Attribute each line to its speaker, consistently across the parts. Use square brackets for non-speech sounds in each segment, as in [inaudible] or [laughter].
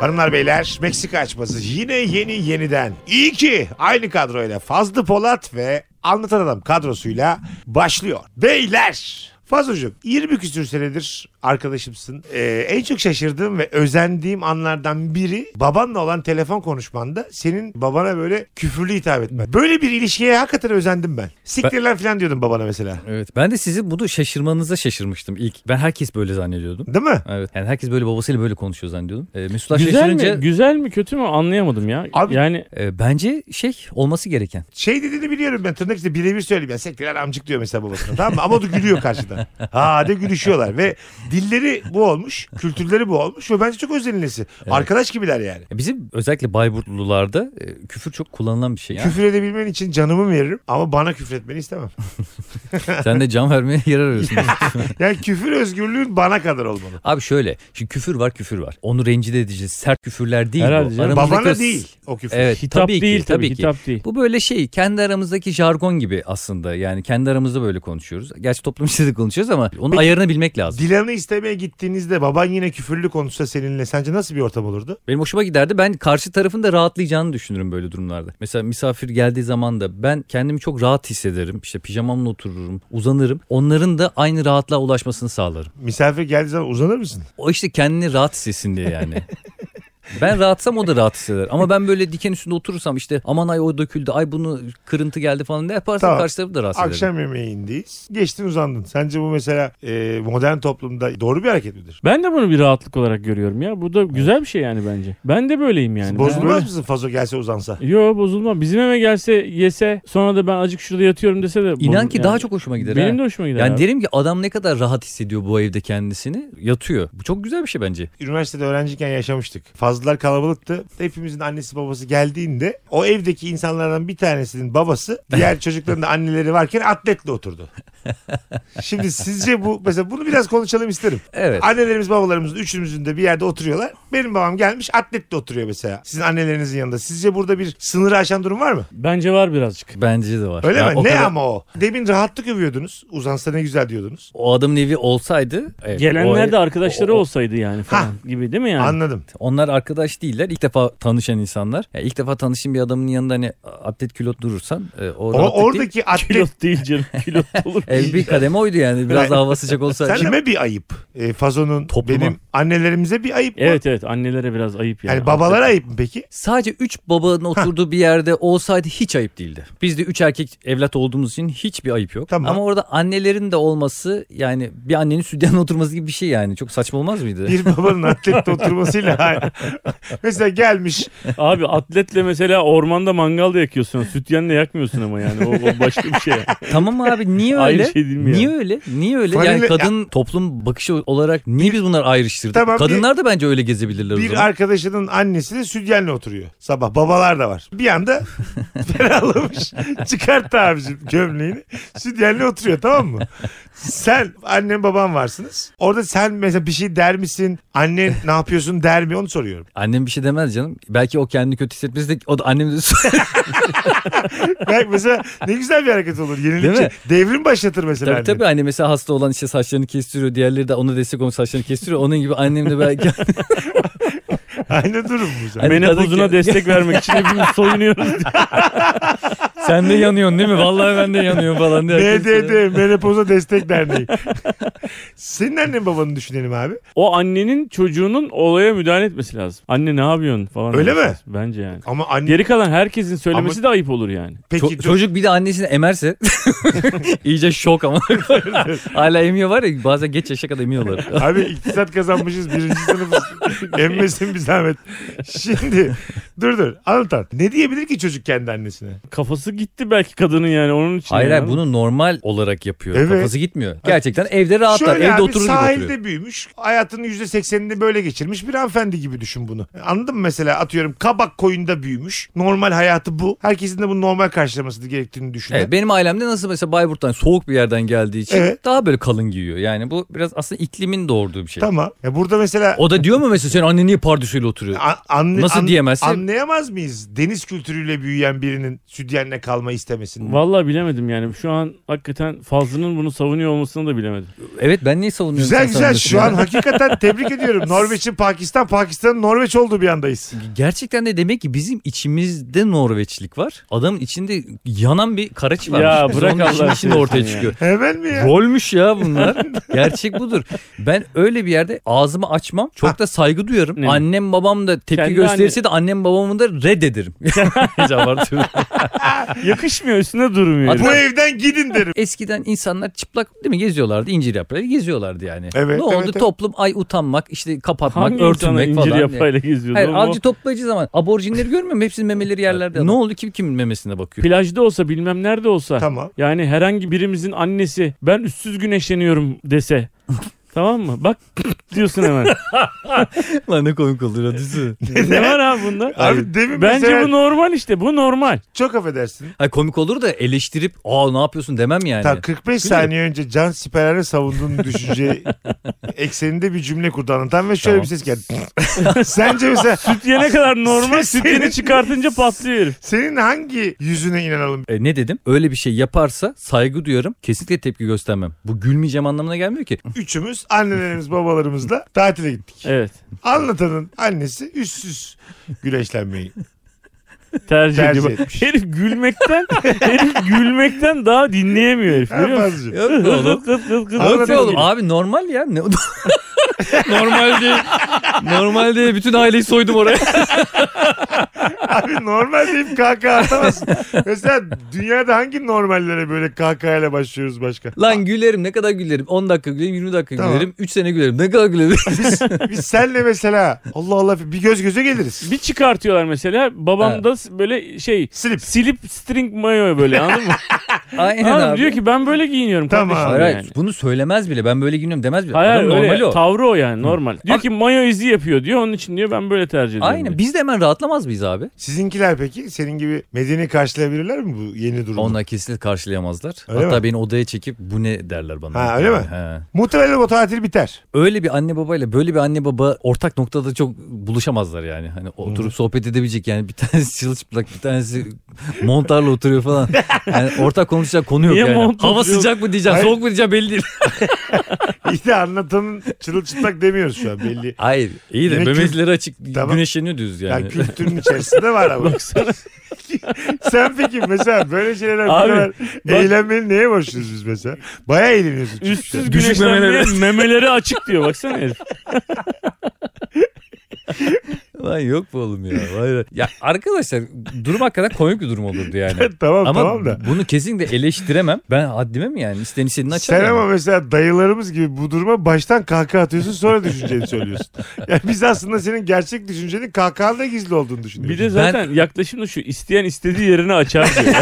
Speaker 1: Hanımlar beyler Meksika açması yine yeni yeniden. İyi ki aynı kadroyla Fazlı Polat ve Anlatan Adam kadrosuyla başlıyor. Beyler Fazlıcığım 20 küsür senedir arkadaşımsın. Ee, en çok şaşırdığım ve özendiğim anlardan biri babanla olan telefon konuşmanda senin babana böyle küfürlü hitap etmen. Böyle bir ilişkiye hakikaten özendim ben. Siktir lan falan diyordum babana mesela.
Speaker 2: Evet. Ben de sizi bunu şaşırmanıza şaşırmıştım ilk. Ben herkes böyle zannediyordum.
Speaker 1: Değil mi?
Speaker 2: Evet. Yani herkes böyle babasıyla böyle konuşuyor zannediyordum. Ee, Mesutlar
Speaker 3: Güzel
Speaker 2: şaşırınca
Speaker 3: mi? Güzel mi kötü mü anlayamadım ya.
Speaker 1: Abi-
Speaker 3: yani
Speaker 2: e, bence şey olması gereken.
Speaker 1: şey dediğini biliyorum ben tırnak içinde birebir söyleyeyim. Yani sektiler amcık diyor mesela babasına tamam mı? Ama o da gülüyor karşıdan. Ha de gülüşüyorlar ve dilleri bu olmuş. Kültürleri bu olmuş ve bence çok özenilesi. Arkadaş gibiler yani.
Speaker 2: E, Bizim özellikle Bayburtlularda e, küfür çok kullanılan bir şey. Yani.
Speaker 1: Küfür edebilmen için canımı veririm ama bana küfür etmeni istemem. [laughs]
Speaker 2: Sen de can vermeye [laughs] yer arıyorsun.
Speaker 1: Yani küfür özgürlüğün bana kadar olmalı.
Speaker 2: Abi şöyle. Şimdi küfür var küfür var. Onu rencide edeceğiz. Sert küfürler değil
Speaker 3: Herhalde
Speaker 2: bu.
Speaker 3: canım.
Speaker 2: Aramızdaki
Speaker 1: Babana
Speaker 2: o-
Speaker 1: değil o küfür.
Speaker 2: Evet
Speaker 3: hitap
Speaker 2: tabii ki,
Speaker 3: değil tabii,
Speaker 2: tabii ki.
Speaker 3: hitap değil.
Speaker 2: Bu böyle şey kendi aramızdaki jargon gibi aslında. Yani kendi aramızda böyle konuşuyoruz. Gerçi toplum içinde de konuşuyoruz ama onun
Speaker 1: Peki-
Speaker 2: ayarını bilmek lazım.
Speaker 1: Dilan'ı istemeye gittiğinizde baban yine küfürlü konuşsa seninle sence nasıl bir ortam olurdu?
Speaker 2: Benim hoşuma giderdi. Ben karşı tarafın da rahatlayacağını düşünürüm böyle durumlarda. Mesela misafir geldiği zaman da ben kendimi çok rahat hissederim. İşte pijamamla otururum, uzanırım. Onların da aynı rahatlığa ulaşmasını sağlarım.
Speaker 1: Misafir geldiği zaman uzanır mısın?
Speaker 2: O işte kendini rahat hissetsin diye
Speaker 1: [laughs]
Speaker 2: yani. Ben rahatsam o da rahat hisseder. Ama ben böyle diken üstünde oturursam işte aman ay o döküldü, ay bunu kırıntı geldi falan ne yaparsam
Speaker 1: Tamam.
Speaker 2: karşı tarafı da rahatsız ederim.
Speaker 1: Akşam yemeğindeyiz. Geçtin uzandın. Sence bu mesela e, modern toplumda doğru bir hareket midir?
Speaker 3: Ben de bunu bir rahatlık olarak görüyorum ya. Bu da güzel bir şey yani bence. Ben de böyleyim yani.
Speaker 1: Bozulmaz
Speaker 3: Ben-
Speaker 1: mısın Fazo gelse uzansa?
Speaker 3: Yo bozulmam. Bizim eve gelse yese sonra da ben acık şurada yatıyorum dese de.
Speaker 2: İnan
Speaker 3: bozul-
Speaker 2: ki
Speaker 3: yani.
Speaker 2: daha çok hoşuma gider.
Speaker 3: Benim
Speaker 2: ha.
Speaker 3: de hoşuma gider.
Speaker 2: Yani
Speaker 3: abi.
Speaker 2: derim ki adam ne kadar rahat hissediyor bu evde kendisini. Yatıyor. Bu çok güzel bir şey bence.
Speaker 1: Üniversitede öğrenciyken yaşamıştık. Fazlalar kalabalıktı. Hepimizin annesi babası geldiğinde o evdeki insanlardan bir tanesinin babası
Speaker 2: [laughs]
Speaker 1: diğer çocukların da anneleri varken atletle oturdu. Şimdi sizce bu mesela bunu biraz konuşalım isterim.
Speaker 2: Evet.
Speaker 1: Annelerimiz babalarımız üçümüzün de bir yerde oturuyorlar. Benim babam gelmiş atletle oturuyor mesela. Sizin annelerinizin yanında. Sizce burada bir sınırı aşan durum var mı?
Speaker 3: Bence var birazcık.
Speaker 2: Bence de var.
Speaker 1: Öyle
Speaker 2: Ya
Speaker 1: mi?
Speaker 2: o
Speaker 1: ne
Speaker 2: kadar-
Speaker 1: ama o? Demin rahatlık övüyordunuz. Uzansa ne güzel diyordunuz.
Speaker 2: O adamın evi olsaydı. evet, o
Speaker 3: Gelenler
Speaker 2: ev-
Speaker 3: de arkadaşları
Speaker 2: o- o-
Speaker 3: olsaydı yani falan gibi değil mi yani?
Speaker 1: Anladım.
Speaker 2: Onlar arkadaş değiller. İlk defa tanışan insanlar. Yani ilk defa tanıştığın bir adamın yanında hani atlet külot durursan e, o,
Speaker 1: O,
Speaker 2: rahatlık [laughs] değil.
Speaker 1: oradaki atlet
Speaker 3: Pilot
Speaker 2: [laughs]
Speaker 3: değil canım. Pilot olur.
Speaker 2: Ev bir kademe oydu yani. Biraz daha hava sıcak olsa.
Speaker 1: Sen kime bir ayıp? E, fazonun
Speaker 2: Topluma.
Speaker 1: benim annelerimize bir ayıp mı?
Speaker 3: evet evet annelere biraz ayıp yani.
Speaker 1: Yani babalara ayıp mı peki?
Speaker 2: Sadece 3 babanın oturduğu bir yerde olsaydı hiç ayıp değildi. Biz de 3 erkek evlat olduğumuz için hiçbir ayıp yok.
Speaker 1: Tamam.
Speaker 2: Ama orada annelerin de olması yani bir annenin sütyen oturması gibi bir şey yani. Çok saçma olmaz mıydı?
Speaker 1: Bir babanın
Speaker 2: [laughs]
Speaker 1: atlette oturmasıyla [laughs] mesela gelmiş
Speaker 3: Abi atletle mesela ormanda mangal da yakıyorsun. Sütyenle yakmıyorsun ama yani. O, o başka bir şey.
Speaker 2: Tamam abi niye
Speaker 3: Ayrı
Speaker 2: öyle?
Speaker 3: şey değil mi
Speaker 2: niye
Speaker 3: yani?
Speaker 2: öyle? Niye öyle?
Speaker 1: Fanile-
Speaker 2: Yani kadın toplum bakışı olarak niye biz bunları ayrıştırdık?
Speaker 1: Tamam, bir-
Speaker 2: Kadınlar da bence öyle gezebilirler o
Speaker 1: bir
Speaker 2: zaman.
Speaker 1: arkadaşının annesi de sütyenle oturuyor. Sabah babalar da var. Bir anda [laughs] ferahlamış. Çıkarttı abicim gömleğini. Sütyenle oturuyor tamam mı? Sen annen baban varsınız. Orada sen mesela bir şey der misin? Anne ne yapıyorsun der mi? Onu soruyorum.
Speaker 2: Annem bir şey demez canım. Belki o kendini kötü hissetmesi de o
Speaker 1: [laughs]
Speaker 2: da annem de
Speaker 1: Belki mesela ne güzel bir hareket olur.
Speaker 2: Değil
Speaker 1: Yenilikçi.
Speaker 2: mi?
Speaker 1: Devrim başlatır mesela.
Speaker 2: Tabii
Speaker 1: annen.
Speaker 2: tabii anne mesela hasta olan işte saçlarını kestiriyor. Diğerleri de ona destek olmuş saçlarını kestiriyor. Onun gibi annem
Speaker 1: [laughs]
Speaker 2: de belki
Speaker 1: Aynı durum bu. zaten.
Speaker 2: Hani
Speaker 3: Menopozuna
Speaker 2: kadın-
Speaker 3: destek vermek
Speaker 2: [laughs]
Speaker 3: için hepimiz soyunuyoruz.
Speaker 2: sen de yanıyorsun değil mi? Vallahi ben de yanıyorum falan. diye herkes böyle-
Speaker 1: MDD Menopoza Destek Derneği. Senin annen babanı düşünelim abi.
Speaker 3: O annenin çocuğunun olaya müdahale etmesi lazım. Anne ne yapıyorsun falan.
Speaker 1: Öyle
Speaker 3: demesi lazım. Bence yani.
Speaker 1: Ama anne
Speaker 3: Geri kalan herkesin söylemesi de ayıp olur yani.
Speaker 1: peki
Speaker 2: Ço- çocuk bir de annesini emerse [laughs] iyice
Speaker 1: [laughs]
Speaker 2: şok ama. Hala emiyor var ya bazen geç yaşa kadar emiyorlar.
Speaker 1: abi iktisat kazanmışız birinci
Speaker 2: [laughs]
Speaker 1: sınıfız. Emmesin bir zahmet. Şimdi dur dur anlatan. Ne diyebilir ki çocuk kendi annesine?
Speaker 3: Kafası gitti belki kadının yani onun için.
Speaker 2: Hayır hayır
Speaker 3: yani.
Speaker 2: bunu normal olarak yapıyor.
Speaker 1: Evet.
Speaker 2: Kafası gitmiyor. Gerçekten evde rahatlar.
Speaker 1: Şöyle
Speaker 2: evde
Speaker 1: abi
Speaker 2: oturur gibi
Speaker 1: sahilde
Speaker 2: oturuyor.
Speaker 1: büyümüş. Hayatının yüzde seksenini böyle geçirmiş bir hanımefendi gibi düşün bunu. Anladın mı mesela atıyorum kabak koyunda büyümüş. Normal hayatı bu. Herkesin de bu normal karşılaması gerektiğini düşünüyor.
Speaker 2: Evet, benim ailemde nasıl mesela Bayburt'tan soğuk bir yerden geldiği için
Speaker 1: Evet.
Speaker 2: daha böyle kalın giyiyor. Yani bu biraz aslında iklimin doğurduğu bir şey.
Speaker 1: Tamam. Ya burada mesela
Speaker 2: O da diyor mu mesela sen anne niye pardösüyle öyle oturuyor.
Speaker 1: A- anne-
Speaker 2: Nasıl
Speaker 1: an-
Speaker 2: diyemezsin?
Speaker 1: Anlayamaz mıyız deniz kültürüyle büyüyen birinin sütyenle kalma istemesini?
Speaker 3: Vallahi bilemedim yani. Şu an hakikaten Fazlı'nın bunu savunuyor olmasını da bilemedim.
Speaker 2: Evet ben niye savunuyorum?
Speaker 1: Güzel
Speaker 2: sen
Speaker 1: güzel
Speaker 2: savunuyorsun
Speaker 1: şu
Speaker 2: ya?
Speaker 1: an hakikaten tebrik
Speaker 2: [laughs]
Speaker 1: ediyorum. Norveç'in Pakistan, Pakistan'ın Norveç olduğu bir andayız.
Speaker 2: Gerçekten de demek ki bizim içimizde Norveçlik var. Adamın içinde yanan bir karaç var.
Speaker 3: Ya bırak Allah
Speaker 2: Şimdi
Speaker 3: aşkına
Speaker 2: ortaya
Speaker 3: ya.
Speaker 2: çıkıyor.
Speaker 1: Hemen mi ya?
Speaker 2: Rolmüş ya bunlar. [laughs] Gerçek budur. Ben öyle bir yerde ağzımı açmam. Çok da saygı duyarım.
Speaker 3: Ne?
Speaker 2: Annem babam da tepki
Speaker 3: Kendi
Speaker 2: gösterirse de annem babamı da reddederim. Hiç abartıyorum.
Speaker 3: Yakışmıyor üstüne durmuyor.
Speaker 1: Bu evden gidin derim.
Speaker 2: [laughs] Eskiden insanlar çıplak değil mi geziyorlardı. incir yaprağıyla geziyorlardı yani.
Speaker 1: Evet,
Speaker 2: ne oldu?
Speaker 1: evet, evet.
Speaker 2: Toplum ay utanmak, işte kapatmak,
Speaker 3: Hangi insana
Speaker 2: örtünmek
Speaker 3: incir
Speaker 2: falan.
Speaker 3: yaprağıyla geziyordu
Speaker 2: Hayır
Speaker 3: ama
Speaker 2: avcı toplayıcı zaman aborjinleri görmüyor mu? Hepsinin memeleri yerlerde. ne oldu? Kim kimin memesine bakıyor?
Speaker 3: plajda olsa bilmem nerede olsa
Speaker 1: Tamam.
Speaker 3: yani herhangi birimizin annesi ben üstsüz güneşleniyorum
Speaker 2: [laughs]
Speaker 3: dese tamam mı? Bak [laughs] diyorsun hemen.
Speaker 2: [laughs] Lan ne komik olur hadisi.
Speaker 3: ne var abi bunda?
Speaker 1: Abi demin
Speaker 3: Bence
Speaker 1: mesela
Speaker 3: bu normal işte. Bu normal.
Speaker 1: çok affedersin.
Speaker 2: Hayır, komik olur da eleştirip aa ne yapıyorsun demem yani.
Speaker 1: Ta 45 saniye önce Can Siperer'e savunduğun
Speaker 2: [laughs]
Speaker 1: düşünce ekseninde bir cümle kurdu anlatan ve şöyle
Speaker 2: Tamam.
Speaker 1: bir ses geldi.
Speaker 2: [laughs]
Speaker 1: Sence mesela
Speaker 3: Sütyene kadar
Speaker 1: Senin-
Speaker 3: normal. Sütyeni çıkartınca patlıyor herif.
Speaker 1: senin hangi yüzüne inanalım?
Speaker 2: E, ne dedim? Öyle bir şey yaparsa saygı duyarım. Kesinlikle tepki göstermem. Bu gülmeyeceğim anlamına
Speaker 1: [laughs]
Speaker 2: gelmiyor ki.
Speaker 1: Üçümüz annelerimiz babalarımızla tatile gittik.
Speaker 3: Evet.
Speaker 1: Anlatanın annesi üstsüz
Speaker 3: [laughs]
Speaker 1: güreşlenmeyi
Speaker 3: Tercih,
Speaker 1: Tercih
Speaker 3: ediyor.
Speaker 1: etmiş.
Speaker 3: Herif gülmekten herif gülmekten daha dinleyemiyor herif. Biliyor musun?
Speaker 1: yapmazcı.
Speaker 2: Yok be oğlum.
Speaker 3: Kıt kıt kıt
Speaker 2: Yok
Speaker 3: kıt.
Speaker 2: be
Speaker 1: Anladım.
Speaker 2: oğlum. Abi normal ya. Ne... [laughs] normal diye. Normal diye bütün aileyi soydum oraya.
Speaker 1: Abi normal deyip kahkaha atamazsın. Mesela dünyada hangi normallere böyle kahkahayla başlıyoruz başka?
Speaker 2: [laughs] Lan gülerim ne kadar gülerim. 10 dakika gülerim 20 dakika
Speaker 1: Tamam.
Speaker 2: gülerim. 3 sene gülerim. Ne kadar [laughs] gülerim.
Speaker 1: Biz, biz senle mesela Allah Allah bir göz göze geliriz.
Speaker 3: Bir çıkartıyorlar mesela. Babam
Speaker 2: Evet.
Speaker 3: da s- böyle şey
Speaker 1: Slip.
Speaker 3: silip string
Speaker 1: [laughs]
Speaker 3: mayo böyle anladın mı?
Speaker 2: Aynen
Speaker 3: Anladın mı?
Speaker 2: abi.
Speaker 3: Diyor ki ben böyle giyiniyorum
Speaker 1: Tamam.
Speaker 3: kardeşim.
Speaker 2: Hayır, hayır.
Speaker 3: yani.
Speaker 2: bunu söylemez bile. Ben böyle giyiniyorum demez bile.
Speaker 3: Hayır
Speaker 2: Adam
Speaker 3: öyle
Speaker 2: normal o.
Speaker 3: tavrı o yani normal. Diyor
Speaker 2: Abi-
Speaker 3: ki mayo izi yapıyor diyor onun için diyor ben böyle tercih ediyorum.
Speaker 2: Aynen.
Speaker 3: diyor.
Speaker 2: Biz de hemen rahatlamaz mıyız abi?
Speaker 1: Sizinkiler peki senin gibi medeni karşılayabilirler mi bu yeni durumu?
Speaker 2: Onlar kesinlikle karşılayamazlar.
Speaker 1: Öyle
Speaker 2: Hatta
Speaker 1: mi?
Speaker 2: beni odaya çekip bu ne derler bana.
Speaker 1: Ha, öyle mi?
Speaker 2: He.
Speaker 1: Muhtemelen o tatil biter.
Speaker 2: Öyle bir anne babayla böyle bir anne baba ortak noktada çok buluşamazlar yani. Hani oturup sohbet edebilecek yani bir [laughs] tanesi çılçıplak bir tanesi montarla oturuyor falan. Yani ortak konuşacak konu yok
Speaker 3: Niye
Speaker 2: yani.
Speaker 3: mont
Speaker 2: Hava
Speaker 3: oturuyor?
Speaker 2: sıcak mı diyeceğim,
Speaker 1: Hayır.
Speaker 2: soğuk mu
Speaker 1: [laughs]
Speaker 2: diyeceğim belli değil.
Speaker 1: İyi de anlatanın çırılçıplak demiyoruz şu an belli.
Speaker 2: Hayır. iyi de
Speaker 1: Yine kü-
Speaker 2: memecileri açık
Speaker 1: Tamam.
Speaker 2: güneşleniyor düz
Speaker 1: Yani,
Speaker 2: yani.
Speaker 1: kültürün içerisinde var ama. [laughs] Sen peki mesela böyle şeyler
Speaker 3: Abi,
Speaker 1: kadar eğlenmeni neye borçluyuz biz mesela? Baya eğleniyorsun. çünkü
Speaker 3: Üstsüz
Speaker 1: sen.
Speaker 2: Düşük
Speaker 3: güneşlenmeye memeleri açık diyor
Speaker 2: [laughs]
Speaker 3: baksana herif.
Speaker 2: Lan yok bu oğlum ya. Vay be. Ya arkadaşlar durum hakikaten komik bir durum olurdu yani.
Speaker 1: [laughs] [laughs] tamam
Speaker 2: Ama
Speaker 1: tamam da.
Speaker 2: bunu kesinlikle eleştiremem. Ben haddime mi yani? İsteyen istediğini açar.
Speaker 1: Sen
Speaker 2: yani.
Speaker 1: ama mesela dayılarımız gibi bu duruma baştan kahkaha atıyorsun sonra düşünceni
Speaker 2: [laughs]
Speaker 1: söylüyorsun. Yani biz aslında senin gerçek düşüncenin kahkahanda gizli olduğunu düşünüyoruz.
Speaker 3: Bir de zaten yaklaşım da şu isteyen istediği yerine açar diyor.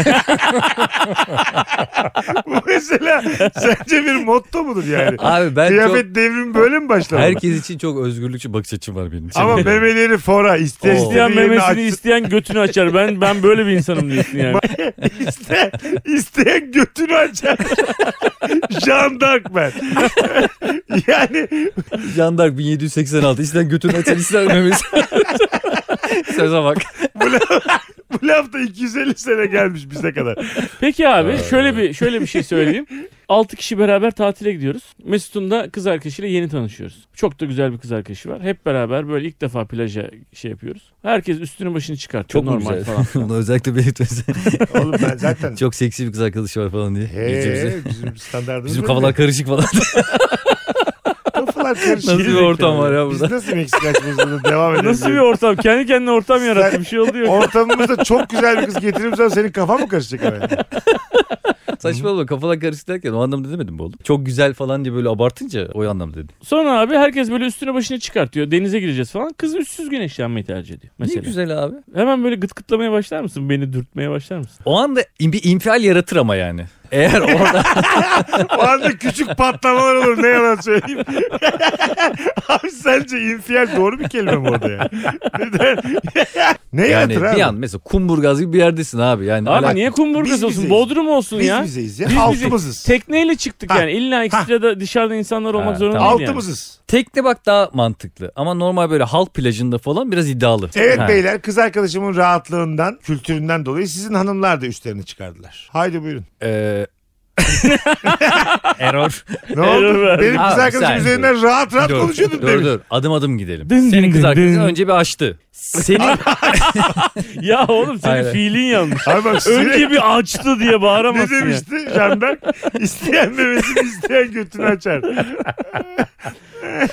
Speaker 1: Bu [laughs] mesela sence bir motto mudur yani?
Speaker 2: Abi [laughs] ben
Speaker 1: Kıyafet [laughs]
Speaker 2: çok
Speaker 1: devrimi böyle mi başladı?
Speaker 2: herkes için çok özgürlükçü bakış açım var benim.
Speaker 1: Ama
Speaker 2: Senin-
Speaker 1: memeleri fora ister
Speaker 2: Oo.
Speaker 1: istediği
Speaker 3: isteyen
Speaker 1: yerini
Speaker 3: memesini
Speaker 1: açsın.
Speaker 3: isteyen götünü açar. Ben ben böyle bir insanım diyorsun yani.
Speaker 1: İste, isteyen götünü açar. Jean Dark ben. [laughs] yani
Speaker 2: Jandark 1786 ister götünü açar ister memesi. Söze bak.
Speaker 1: bu lafta 250 sene gelmiş bize kadar.
Speaker 3: Peki abi
Speaker 2: Ay.
Speaker 3: şöyle bir şöyle bir şey söyleyeyim. 6 kişi beraber tatile gidiyoruz. Mesut'un da kız arkadaşıyla yeni tanışıyoruz. Çok da güzel bir kız arkadaşı var. Hep beraber böyle ilk defa plaja şey yapıyoruz. Herkes üstünü başını çıkartıyor
Speaker 2: Çok mu
Speaker 3: normal
Speaker 2: güzel?
Speaker 3: falan.
Speaker 2: Bunu özellikle belirtmesi.
Speaker 1: Oğlum ben
Speaker 2: [laughs]
Speaker 1: zaten
Speaker 2: Çok seksi bir kız arkadaşı var falan diye. Gece bize-
Speaker 1: He, bizim standartımız
Speaker 2: Bizim
Speaker 1: böyle.
Speaker 2: kafalar karışık falan.
Speaker 1: Kafalar karışık.
Speaker 2: Nasıl bir ortam var ya
Speaker 1: Biz
Speaker 2: burada?
Speaker 1: nasıl Meksika açmamızda devam edelim?
Speaker 3: [laughs] Nasıl bir ortam? Kendi kendine ortam yarattı. Bir şey oldu yok.
Speaker 1: Ortamımızda çok güzel bir kız getirip sonra senin kafan mı karışacak hemen?
Speaker 2: Saçmalama kafalar karışık derken o anlamda demedim bu oğlum. Çok güzel falan diye böyle abartınca o anlamda dedim.
Speaker 3: Sonra abi herkes böyle üstüne başını çıkartıyor. Denize gireceğiz falan. Kız üstsüz güneşlenmeyi tercih ediyor. Mesela.
Speaker 2: Ne güzel abi.
Speaker 3: Hemen böyle gıt gıtlamaya başlar mısın? Beni dürtmeye başlar mısın?
Speaker 2: O anda in- bir infial yaratır ama yani. Eğer orada
Speaker 1: O anda küçük patlamalar olur ne yalan söyleyeyim. [laughs] Abi sence infial doğru bir kelime mi orada ya? Neden? [laughs] ne
Speaker 2: yani
Speaker 1: yaratır abi?
Speaker 2: bir an mesela kumburgaz gibi bir yerdesin abi. Yani
Speaker 3: Abi
Speaker 2: alak-
Speaker 3: niye kumburgaz
Speaker 1: Biz
Speaker 3: olsun?
Speaker 1: bizeyiz.
Speaker 3: Bodrum olsun
Speaker 1: Biz
Speaker 3: ya.
Speaker 1: bizeyiz ya.
Speaker 3: Biz
Speaker 1: Altımızız.
Speaker 3: Tekneyle çıktık
Speaker 1: Ha.
Speaker 3: yani. İlla ekstrada dışarıda insanlar olmak
Speaker 2: Ha,
Speaker 3: zorunda
Speaker 2: tamam.
Speaker 3: değil yani.
Speaker 1: Altımızız.
Speaker 2: Tekne bak daha mantıklı ama normal böyle halk plajında falan biraz iddialı.
Speaker 1: Evet
Speaker 2: Ha.
Speaker 1: beyler kız arkadaşımın rahatlığından, kültüründen dolayı sizin hanımlar da üstlerini çıkardılar. Haydi buyurun.
Speaker 2: Ee, [laughs] Error.
Speaker 1: Ne oldu?
Speaker 3: Erol abi.
Speaker 1: Benim kız
Speaker 2: Abi,
Speaker 1: arkadaşım
Speaker 2: sen-
Speaker 1: üzerinden rahat rahat konuşuyordun
Speaker 2: dur,
Speaker 1: demiş.
Speaker 2: dur adım adım gidelim.
Speaker 3: Dın
Speaker 2: Senin
Speaker 3: dın
Speaker 2: kız
Speaker 3: dın
Speaker 2: arkadaşın
Speaker 3: dın.
Speaker 2: önce bir açtı. Senin
Speaker 3: Ya oğlum senin
Speaker 2: Aynen.
Speaker 1: [laughs]
Speaker 3: fiilin yanlış.
Speaker 1: Abi bak sürekli
Speaker 3: Önce bir açtı diye
Speaker 1: ne
Speaker 3: bağıramazsın ya.
Speaker 1: demişti Jandark? İsteyen memesini isteyen götünü açar.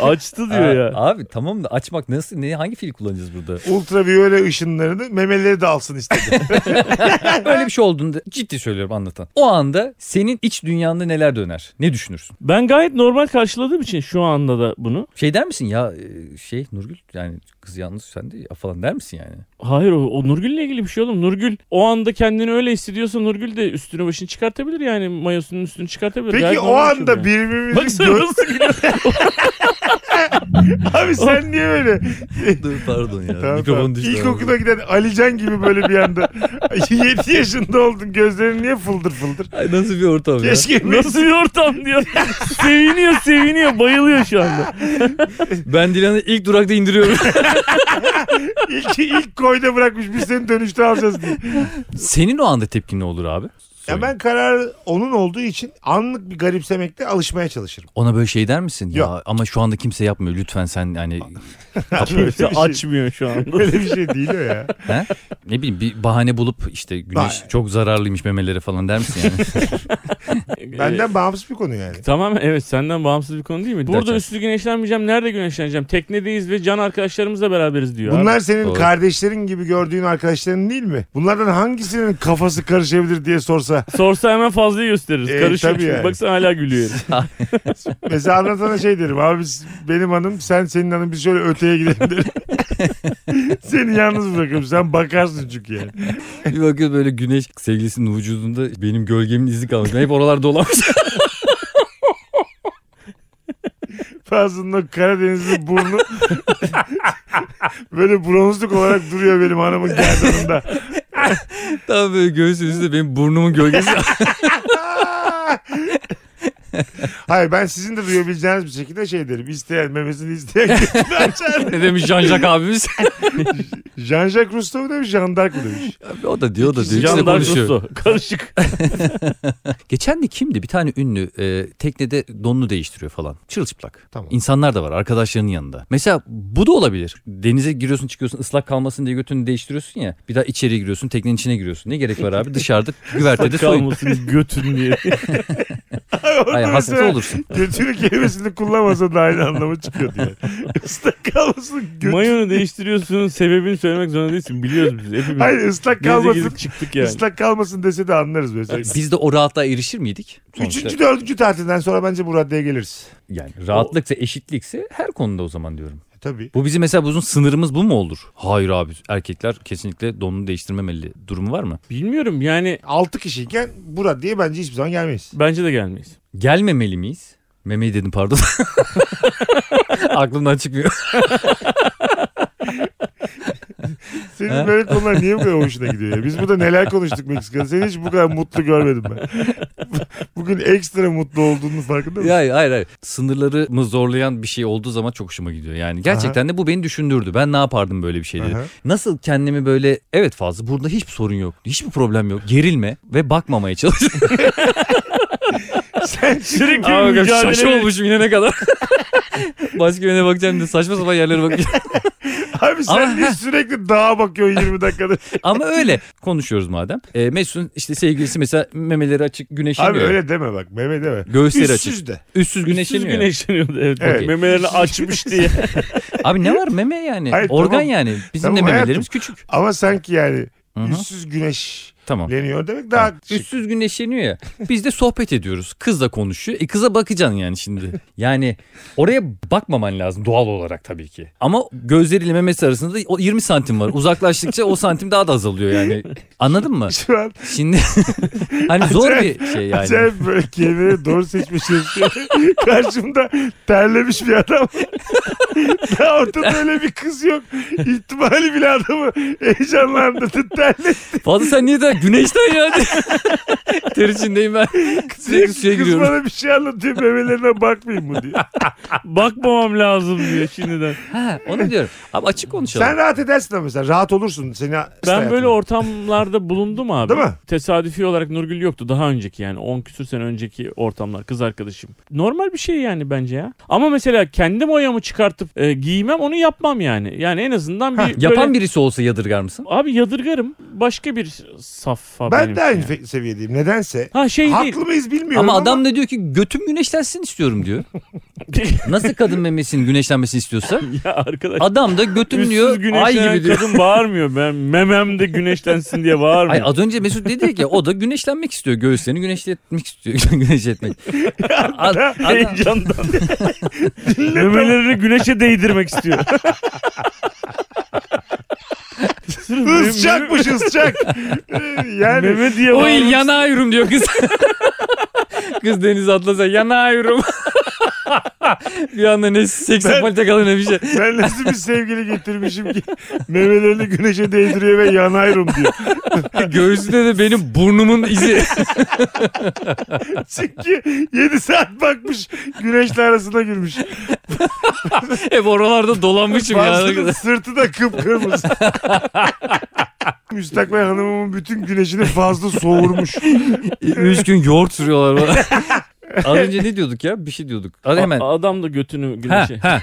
Speaker 3: Açtı diyor ya.
Speaker 2: Abi tamam da açmak nasıl ne hangi fiil kullanacağız
Speaker 1: [laughs]
Speaker 2: burada?
Speaker 1: Ultraviyole ışınlarını memeleri de alsın
Speaker 2: [laughs]
Speaker 1: istedi.
Speaker 2: Böyle bir şey olduğunda ciddi söylüyorum anlatan. O anda senin iç dünyanda neler döner? Ne düşünürsün?
Speaker 3: Ben gayet normal karşıladığım için şu anda da bunu.
Speaker 2: Şey der misin ya e, şey Nurgül yani kız yalnız sen de ya falan der misin yani?
Speaker 1: [laughs]
Speaker 3: Hayır o, o Nurgül'le ilgili bir şey oğlum. Nurgül o anda kendini öyle hissediyorsa Nurgül de üstünü başını çıkartabilir yani. Mayosunun üstünü çıkartabilir. Gayet
Speaker 1: Peki o
Speaker 3: normal bir şey
Speaker 1: anda
Speaker 3: bu yani.
Speaker 1: birbirimizin
Speaker 3: Baksana
Speaker 1: gö-
Speaker 3: nasıl gülüyor.
Speaker 1: Abi sen niye böyle?
Speaker 2: Dur pardon
Speaker 1: Tamam,
Speaker 2: ya
Speaker 1: tamam.
Speaker 2: [laughs] mikrofon düştü.
Speaker 1: İlkokula giden Alican gibi böyle bir anda [laughs] 7 yaşında oldun gözlerin niye fıldır fıldır?
Speaker 2: Ay nasıl bir ortam ya?
Speaker 1: Keşke
Speaker 3: Nasıl bir ortam [laughs] diyor. seviniyor seviniyor bayılıyor şu anda.
Speaker 2: Ben Dilan'ı ilk durakta indiriyorum. [laughs]
Speaker 1: ilk, ilk koyda bırakmış biz seni dönüşte alacağız diye.
Speaker 2: Senin o anda tepkin ne olur abi?
Speaker 1: Ya ben karar onun olduğu için anlık bir garipsemekte alışmaya çalışırım.
Speaker 2: Ona böyle şey der misin?
Speaker 1: Yok.
Speaker 2: Ya ama şu anda kimse yapmıyor. Lütfen sen yani
Speaker 1: Böyle bir [laughs] şey,
Speaker 3: Açmıyor şu anda. [laughs]
Speaker 1: Böyle bir şey değil o [laughs] ya.
Speaker 2: he? ne bileyim bir bahane bulup işte güneş
Speaker 1: Bah-
Speaker 2: çok zararlıymış memelere falan der misin yani?
Speaker 1: Benden bağımsız bir konu yani.
Speaker 3: Ee, Tamam evet senden bağımsız bir konu değil mi? Burada
Speaker 2: Gerçekten.
Speaker 3: üstü güneşlenmeyeceğim. Nerede güneşleneceğim? Teknedeyiz ve can arkadaşlarımızla beraberiz diyor. abi.
Speaker 1: Bunlar senin
Speaker 2: Doğru.
Speaker 1: kardeşlerin gibi gördüğün arkadaşların değil mi? Bunlardan hangisinin kafası karışabilir diye sorsa.
Speaker 3: Sorsa hemen fazlayı gösteririz.
Speaker 1: E,
Speaker 3: Karışıyor.
Speaker 1: tabii
Speaker 3: çünkü.
Speaker 1: yani.
Speaker 3: Baksana hala gülüyor.
Speaker 2: [laughs]
Speaker 3: herif.
Speaker 1: Mesela anlatana şey derim. Abi biz- benim hanım sen senin hanım biz şöyle öteye gidelim derim. [laughs] Seni yalnız bırakırım. Sen bakarsın çünkü yani.
Speaker 2: [laughs] bir bakıyorsun böyle güneş sevgilisinin vücudunda benim gölgemin izi kalmış. Ben hep oralarda dolanmış. [laughs]
Speaker 1: Fazlının o Karadenizli burnu böyle bronzluk olarak duruyor benim hanımın gerdanında.
Speaker 2: Tam böyle göğsünün üstünde benim burnumun gölgesi. [laughs]
Speaker 1: Hayır ben sizin de duyabileceğiniz bir şekilde şey derim. İsteyen memesini isteyen götünü açar.
Speaker 2: ne demiş Jean-Jacques abimiz?
Speaker 1: Jean-Jacques Rousseau mu demiş, Jean d'Arc mı demiş.
Speaker 2: Abi o da diyor o da diyor. İkisi de
Speaker 3: Can
Speaker 2: konuşuyor.
Speaker 3: Darkusu. Karışık.
Speaker 2: Geçen de kimdi? Bir tane ünlü e, teknede donunu değiştiriyor falan. Çırılçıplak.
Speaker 1: Tamam.
Speaker 2: İnsanlar da var arkadaşlarının yanında. Mesela bu da olabilir. Denize giriyorsun çıkıyorsun ıslak kalmasın diye götünü değiştiriyorsun ya. Bir daha içeri giriyorsun teknenin içine giriyorsun. Ne gerek var abi dışarıda güvertede soyun. [laughs]
Speaker 3: Kalmasın götün diye.
Speaker 2: Ay, hasta olursun.
Speaker 1: Götünü kelimesini kullanmasa da aynı anlama çıkıyor diye. Islak kalmasın götü.
Speaker 3: Mayonu değiştiriyorsun. Sebebini söylemek zorunda değilsin. Biliyoruz biz hepimiz.
Speaker 1: Hayır ıslak
Speaker 3: Geze
Speaker 1: kalmasın.
Speaker 3: gezip çıktık yani.
Speaker 1: Islak kalmasın dese de anlarız mesela.
Speaker 2: Biz de o rahatlığa erişir miydik? Sonuçta
Speaker 1: Üçüncü, dördüncü tatilden sonra bence bu raddeye geliriz.
Speaker 2: yani rahatlıksa eşitlikse her konuda o zaman diyorum.
Speaker 1: E, tabii.
Speaker 2: Bu bizim mesela bizim sınırımız bu mu olur? Hayır abi erkekler kesinlikle donunu değiştirmemeli durumu var mı?
Speaker 3: Bilmiyorum yani
Speaker 1: Altı kişiyken bu raddeye bence hiçbir zaman gelmeyiz.
Speaker 3: bence de gelmeyiz.
Speaker 2: Gelmemeli miyiz? Memeyi dedim pardon. [laughs] Aklımdan çıkmıyor.
Speaker 1: Senin böyle konular niye bu kadar hoşuna gidiyor ya? Biz burada neler konuştuk Meksika'da. Seni hiç bu kadar mutlu görmedim ben. [laughs] Bugün ekstra mutlu olduğunun farkında mısın?
Speaker 2: hayır hayır hayır. Sınırlarımı zorlayan bir şey olduğu zaman çok hoşuma gidiyor. Yani gerçekten de bu beni düşündürdü. Ben ne yapardım böyle bir şeyleri?
Speaker 1: Aha.
Speaker 2: Nasıl kendimi böyle evet fazla burada hiçbir sorun yok. Hiçbir problem yok. Gerilme ve bakmamaya çalış. [laughs]
Speaker 1: Sen
Speaker 3: Sürekli
Speaker 2: Ama bakın şaşı
Speaker 3: mücadele.
Speaker 2: olmuşum yine ne kadar. [laughs] Başka birine bakacağım diye saçma sapan yerlere bakacağım.
Speaker 1: Abi sen
Speaker 2: Ama-
Speaker 1: niye sürekli dağa bakıyorsun 20
Speaker 2: [laughs]
Speaker 1: dakikada?
Speaker 2: Ama öyle konuşuyoruz madem. E, Mesut'un işte sevgilisi mesela memeleri açık güneşleniyor.
Speaker 1: Abi öyle deme bak Mehmet deme.
Speaker 2: Göğüsleri açık.
Speaker 1: Üstsüz de.
Speaker 2: Üstsüz
Speaker 3: Güneşleniyor.
Speaker 2: güneşleniyor.
Speaker 3: güneşleniyordu evet.
Speaker 1: Evet.
Speaker 3: Memelerini açmış diye. [laughs]
Speaker 2: Abi ne var meme yani?
Speaker 1: Hayır,
Speaker 2: Organ
Speaker 1: tamam.
Speaker 2: yani. Bizim
Speaker 1: Tamam
Speaker 2: de
Speaker 1: hayatım.
Speaker 2: memelerimiz küçük.
Speaker 1: Ama sanki yani
Speaker 2: hı.
Speaker 1: Üstsüz güneşleniyor
Speaker 2: Tamam.
Speaker 1: demek daha şık.
Speaker 2: Üstsüz güneşleniyor ya. Biz de sohbet ediyoruz. Kızla konuşuyor. E kıza bakacaksın yani şimdi. Yani oraya bakmaman lazım doğal olarak tabii ki. Ama gözleriyle memesi arasında o 20 santim var. Uzaklaştıkça o santim daha da azalıyor yani. Anladın mı?
Speaker 1: [laughs] Şu an
Speaker 2: Şimdi [laughs] hani zor bir şey yani.
Speaker 1: acayip böyle kelimeleri doğru seçmişiz. [laughs] Karşımda terlemiş bir adam. [laughs] Daha ortada öyle bir kız yok. İhtimali bile adamı heyecanlandırdı. Terle
Speaker 2: Fazla sen niye de güneşten [laughs] yani? Ter içindeyim ben. Sürekli suya
Speaker 1: kız
Speaker 2: giriyorum.
Speaker 1: bana bir şey anlatıyor. Memelerine bakmayayım mı diyor.
Speaker 3: Bakmamam lazım diyor şimdiden.
Speaker 2: Ha, onu diyorum. Abi açık konuşalım.
Speaker 1: Sen rahat edersin ama mesela. Rahat olursun. Seni
Speaker 3: Ben böyle ortamlarda bulundum abi.
Speaker 1: Değil mi?
Speaker 3: Tesadüfi olarak Nurgül yoktu daha önceki yani 10 küsür sene önceki ortamlar kız arkadaşım. Normal bir şey yani bence ya. Ama mesela kendim oyamı çıkartıp e, giymem onu yapmam yani. Yani en azından bir böyle...
Speaker 2: Yapan birisi olsa yadırgar mısın?
Speaker 3: Abi yadırgarım. Başka bir safha
Speaker 1: Ben
Speaker 3: benim
Speaker 1: de
Speaker 3: için
Speaker 1: aynı şey-
Speaker 3: yani.
Speaker 1: fe- seviyedeyim. Nedense.
Speaker 3: Ha şey değil.
Speaker 1: Haklı mıyız bilmiyorum
Speaker 2: Ama adam da diyor ki götüm güneşlensin istiyorum diyor. Nasıl kadın memesinin güneşlenmesini istiyorsa
Speaker 3: [laughs] ya arkadaş.
Speaker 2: adam da götüm diyor
Speaker 3: Üstsüz
Speaker 2: ay
Speaker 3: güneşlenen
Speaker 2: gibi diyor.
Speaker 3: kadın bağırmıyor. Ben memem de güneşlensin diye
Speaker 2: Ay
Speaker 3: bağırmıyor.
Speaker 2: az önce Mesut dedi ki o da güneşlenmek istiyor. Göğüslerini güneşletmek istiyor. [laughs] Güneşletmek. Ad- adam-
Speaker 3: [laughs] Heyecandan. Memelerini güneşe değdirmek istiyor. Sırf mem-
Speaker 1: Isçakmış
Speaker 3: [laughs]
Speaker 1: ısçak. Ee, yani
Speaker 3: Meme diye
Speaker 2: Oy
Speaker 3: bağırmış.
Speaker 2: yana ayırım diyor kız. [laughs] kız denize atlasa yana ayırım. [laughs] bir anda ne seks
Speaker 1: Ben-
Speaker 2: yapmalı kalır ne bir şey.
Speaker 1: ben nasıl bir sevgili getirmişim ki memelerini güneşe değdiriyor ve yanayırım diyor.
Speaker 2: Göğsünde de benim burnumun izi.
Speaker 1: Çünkü 7 saat bakmış güneşle arasına girmiş.
Speaker 2: Hep oralarda dolanmışım
Speaker 1: Bazının
Speaker 2: ya.
Speaker 1: sırtı da kıpkırmızı. Müstakbel hanımımın bütün güneşini fazla soğurmuş.
Speaker 2: Üç gün yoğurt sürüyorlar bana.
Speaker 3: [laughs]
Speaker 2: Az önce ne diyorduk ya? Bir şey diyorduk. Hadi hemen.
Speaker 3: A- şey. adam da götünü
Speaker 2: Ha,
Speaker 3: güneşe. [laughs]
Speaker 2: ha,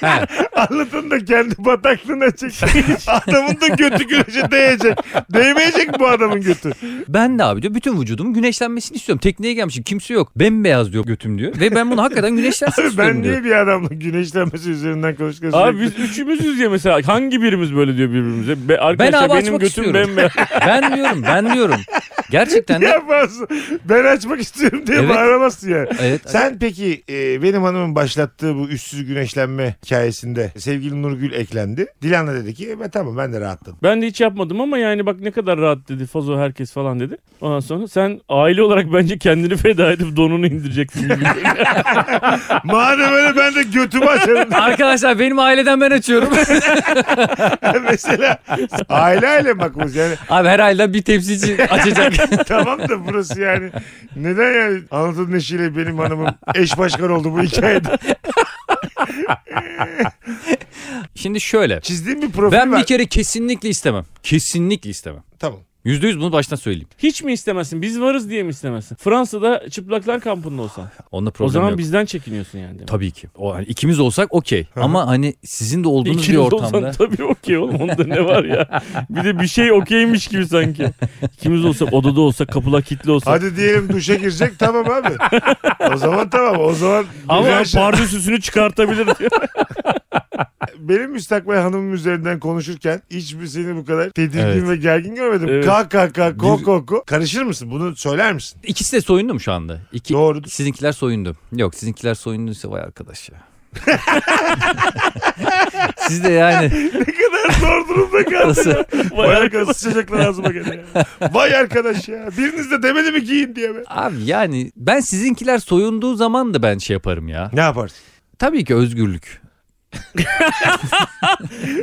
Speaker 2: ha.
Speaker 1: Anlatan da kendi bataklığına çekmiş. Adamın da götü güneşe değecek. Değmeyecek bu adamın götü.
Speaker 2: Ben de abi diyor bütün vücudum güneşlenmesini istiyorum. Tekneye gelmişim kimse yok. Bembeyaz diyor götüm diyor. Ve ben bunu hakikaten
Speaker 3: [laughs]
Speaker 2: güneşlensin
Speaker 1: Abi
Speaker 2: istiyorum
Speaker 1: ben
Speaker 2: diyor.
Speaker 1: niye bir adamla güneşlenmesi üzerinden konuşuyoruz?
Speaker 3: Abi biz üçümüzüz ya mesela hangi birimiz böyle diyor birbirimize? Be, arkadaşlar
Speaker 2: abi
Speaker 3: benim
Speaker 2: açmak
Speaker 3: götüm
Speaker 2: istiyorum.
Speaker 3: bembeyaz.
Speaker 2: Ben diyorum ben diyorum. Gerçekten
Speaker 3: [laughs]
Speaker 2: de.
Speaker 1: yapamazsın. Ben açmak istiyorum diye
Speaker 2: Evet.
Speaker 1: bağıramazsın yani.
Speaker 2: Evet.
Speaker 1: Sen peki e, benim hanımın başlattığı bu üstsüz güneşlenme hikayesinde sevgili Nurgül eklendi. Dilan da dedi ki e, ben tamam ben de rahatladım.
Speaker 3: [laughs] Ben de hiç yapmadım ama yani bak ne kadar rahat dedi Fazo herkes falan dedi. Ondan sonra sen aile olarak bence kendini feda edip donunu
Speaker 2: [laughs]
Speaker 3: indireceksin gibi.
Speaker 1: Madem öyle ben de götümü açarım. [laughs]
Speaker 2: Arkadaşlar benim aileden ben
Speaker 3: [laughs]
Speaker 2: açıyorum.
Speaker 1: Mesela aile aile bakmış yani. [laughs]
Speaker 2: Abi her ayda bir tepsici
Speaker 3: [laughs]
Speaker 2: açacak.
Speaker 1: tamam da burası yani. Neden yani Anadolu Neşi'yle benim hanımım eş başkan oldu bu hikayede.
Speaker 2: Şimdi şöyle.
Speaker 1: Çizdiğim bir profil
Speaker 2: Ben
Speaker 1: var.
Speaker 2: bir kere kesinlikle istemem. Kesinlikle istemem.
Speaker 1: Tamam.
Speaker 2: Yüzde yüz bunu baştan söyleyeyim.
Speaker 3: Hiç mi istemezsin? Biz varız diye mi istemezsin? Fransa'da çıplaklar kampında olsan.
Speaker 2: Onda
Speaker 3: O
Speaker 2: problem
Speaker 3: zaman
Speaker 2: yok.
Speaker 3: bizden çekiniyorsun yani. Demek.
Speaker 2: Tabii ki. O hani ikimiz olsak okey. Ama hani sizin de olduğunuz bir
Speaker 3: İkiniz
Speaker 2: ortamda.
Speaker 3: olsan tabii okey oğlum onda ne var ya. Bir de bir şey okeymiş gibi sanki. İkimiz olsak odada olsak kapılar kilitli olsak.
Speaker 1: Hadi diyelim duşa girecek tamam
Speaker 2: [laughs]
Speaker 1: abi. O zaman tamam. O zaman şey.
Speaker 3: Ama
Speaker 1: güneş-
Speaker 3: pardösüsünü çıkartabilir diyor.
Speaker 1: benim müstakbel hanımım üzerinden konuşurken hiçbir seni bu kadar tedirgin
Speaker 2: Evet.
Speaker 1: ve gergin görmedim.
Speaker 3: Evet.
Speaker 1: Kalk kalk kalk
Speaker 2: Bir-
Speaker 1: ko ko ko. Karışır mısın? Bunu söyler misin?
Speaker 2: İkisi de soyundu mu şu anda? İki,
Speaker 1: Doğru.
Speaker 2: Sizinkiler soyundu. Yok sizinkiler soyunduysa vay
Speaker 1: [laughs]
Speaker 2: arkadaş ya. Siz de yani
Speaker 1: [laughs] ne kadar zor durumda
Speaker 2: nasıl?
Speaker 1: kaldın. Vay arkadaş sıçacaklar ağzıma geliyor. Vay arkadaş ya. Biriniz de demedi mi giyin diye be.
Speaker 2: Abi yani ben sizinkiler soyunduğu zaman da ben şey yaparım ya.
Speaker 1: Ne yaparsın?
Speaker 2: Tabii ki özgürlük.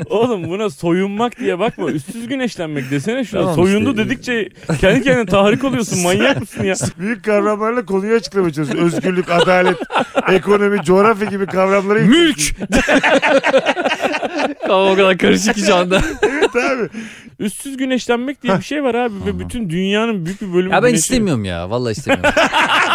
Speaker 3: Oğlum buna soyunmak diye bakma. Üstsüz güneşlenmek desene şuna.
Speaker 2: Tamam
Speaker 3: Soyundu
Speaker 2: işte.
Speaker 3: dedikçe kendi kendine
Speaker 2: [laughs]
Speaker 3: tahrik oluyorsun. Manyak mısın ya?
Speaker 1: Büyük kavramlarla konuyu açıklamaya çalışıyorsun. Özgürlük, adalet, ekonomi, coğrafya gibi kavramları.
Speaker 2: Mülk! [laughs] Ama o kadar karışık ki şu anda.
Speaker 1: Evet abi.
Speaker 3: Üstsüz güneşlenmek diye bir şey var abi. Ve bütün dünyanın büyük bir bölümü
Speaker 2: Ya ben
Speaker 3: güneşleniyor.
Speaker 2: istemiyorum ya. Vallahi istemiyorum.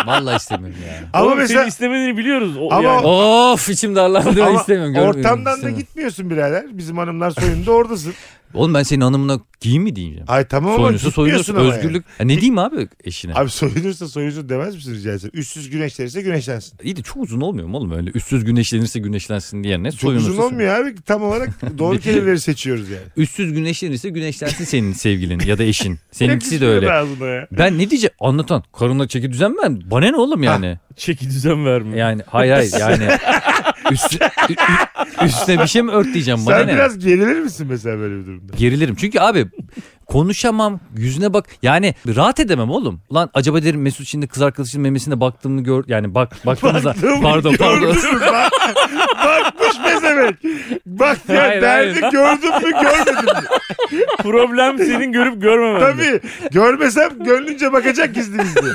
Speaker 2: Vallahi istemiyorum ya.
Speaker 1: Ama
Speaker 3: Oğlum
Speaker 1: mesela
Speaker 3: senin istemediğini biliyoruz. O,
Speaker 1: Ama-
Speaker 3: yani.
Speaker 2: Of içim darlandı.
Speaker 1: Ama
Speaker 2: istemiyorum. görmüyorum,
Speaker 1: ortamdan da
Speaker 2: istemiyorum.
Speaker 1: gitmiyorsun birader. Bizim hanımlar soyunda oradasın.
Speaker 2: Oğlum ben senin hanımına giyim mi diyeceğim?
Speaker 1: Ay tamam ama
Speaker 2: Soyunusu soyunusu
Speaker 1: tutmuyorsun ama yani.
Speaker 2: özgürlük. Ya ne diyeyim abi eşine?
Speaker 1: Abi soyunursa soyunsun demez misin rica etsem? Üstsüz güneşlenirse güneşlensin.
Speaker 2: İyi de çok uzun olmuyor mu oğlum öyle? Üstsüz güneşlenirse güneşlensin diye ne
Speaker 1: Çok
Speaker 2: soyunursa.
Speaker 1: uzun olmuyor abi. Tam olarak
Speaker 2: [laughs]
Speaker 1: doğru kelimeleri seçiyoruz yani.
Speaker 2: Üstsüz güneşlenirse güneşlensin senin sevgilin ya
Speaker 1: [laughs]
Speaker 2: da eşin. Seninkisi de
Speaker 1: Yakışmıyor
Speaker 2: öyle.
Speaker 1: ağzına ya.
Speaker 2: Ben ne diyeceğim? Anlatan. Karınla çeki düzen ben. Bana ne oğlum yani?
Speaker 3: Çeki düzen verme.
Speaker 2: Yani hayır hayır
Speaker 1: [laughs]
Speaker 2: yani. Üst, ü- ü- üstüne bir şey mi ört diyeceğim bana
Speaker 1: Sen
Speaker 2: ne?
Speaker 1: biraz gerilir misin mesela böyle bir durumda?
Speaker 2: Gerilirim. Çünkü abi konuşamam. Yüzüne bak. Yani rahat edemem oğlum. Lan acaba derim Mesut şimdi kız arkadaşının memesine baktığımı gör. Yani bak baktığımızda.
Speaker 1: Baktım,
Speaker 2: pardon pardon.
Speaker 1: Gördüm bak. Bakmış ne demek? Bak ya
Speaker 3: Hayır,
Speaker 1: derdi
Speaker 3: hayır.
Speaker 1: gördün mü görmedin mi?
Speaker 3: Problem senin görüp görmemen.
Speaker 1: Tabii. Görmesem gönlünce bakacak gizli gizli.
Speaker 2: [laughs]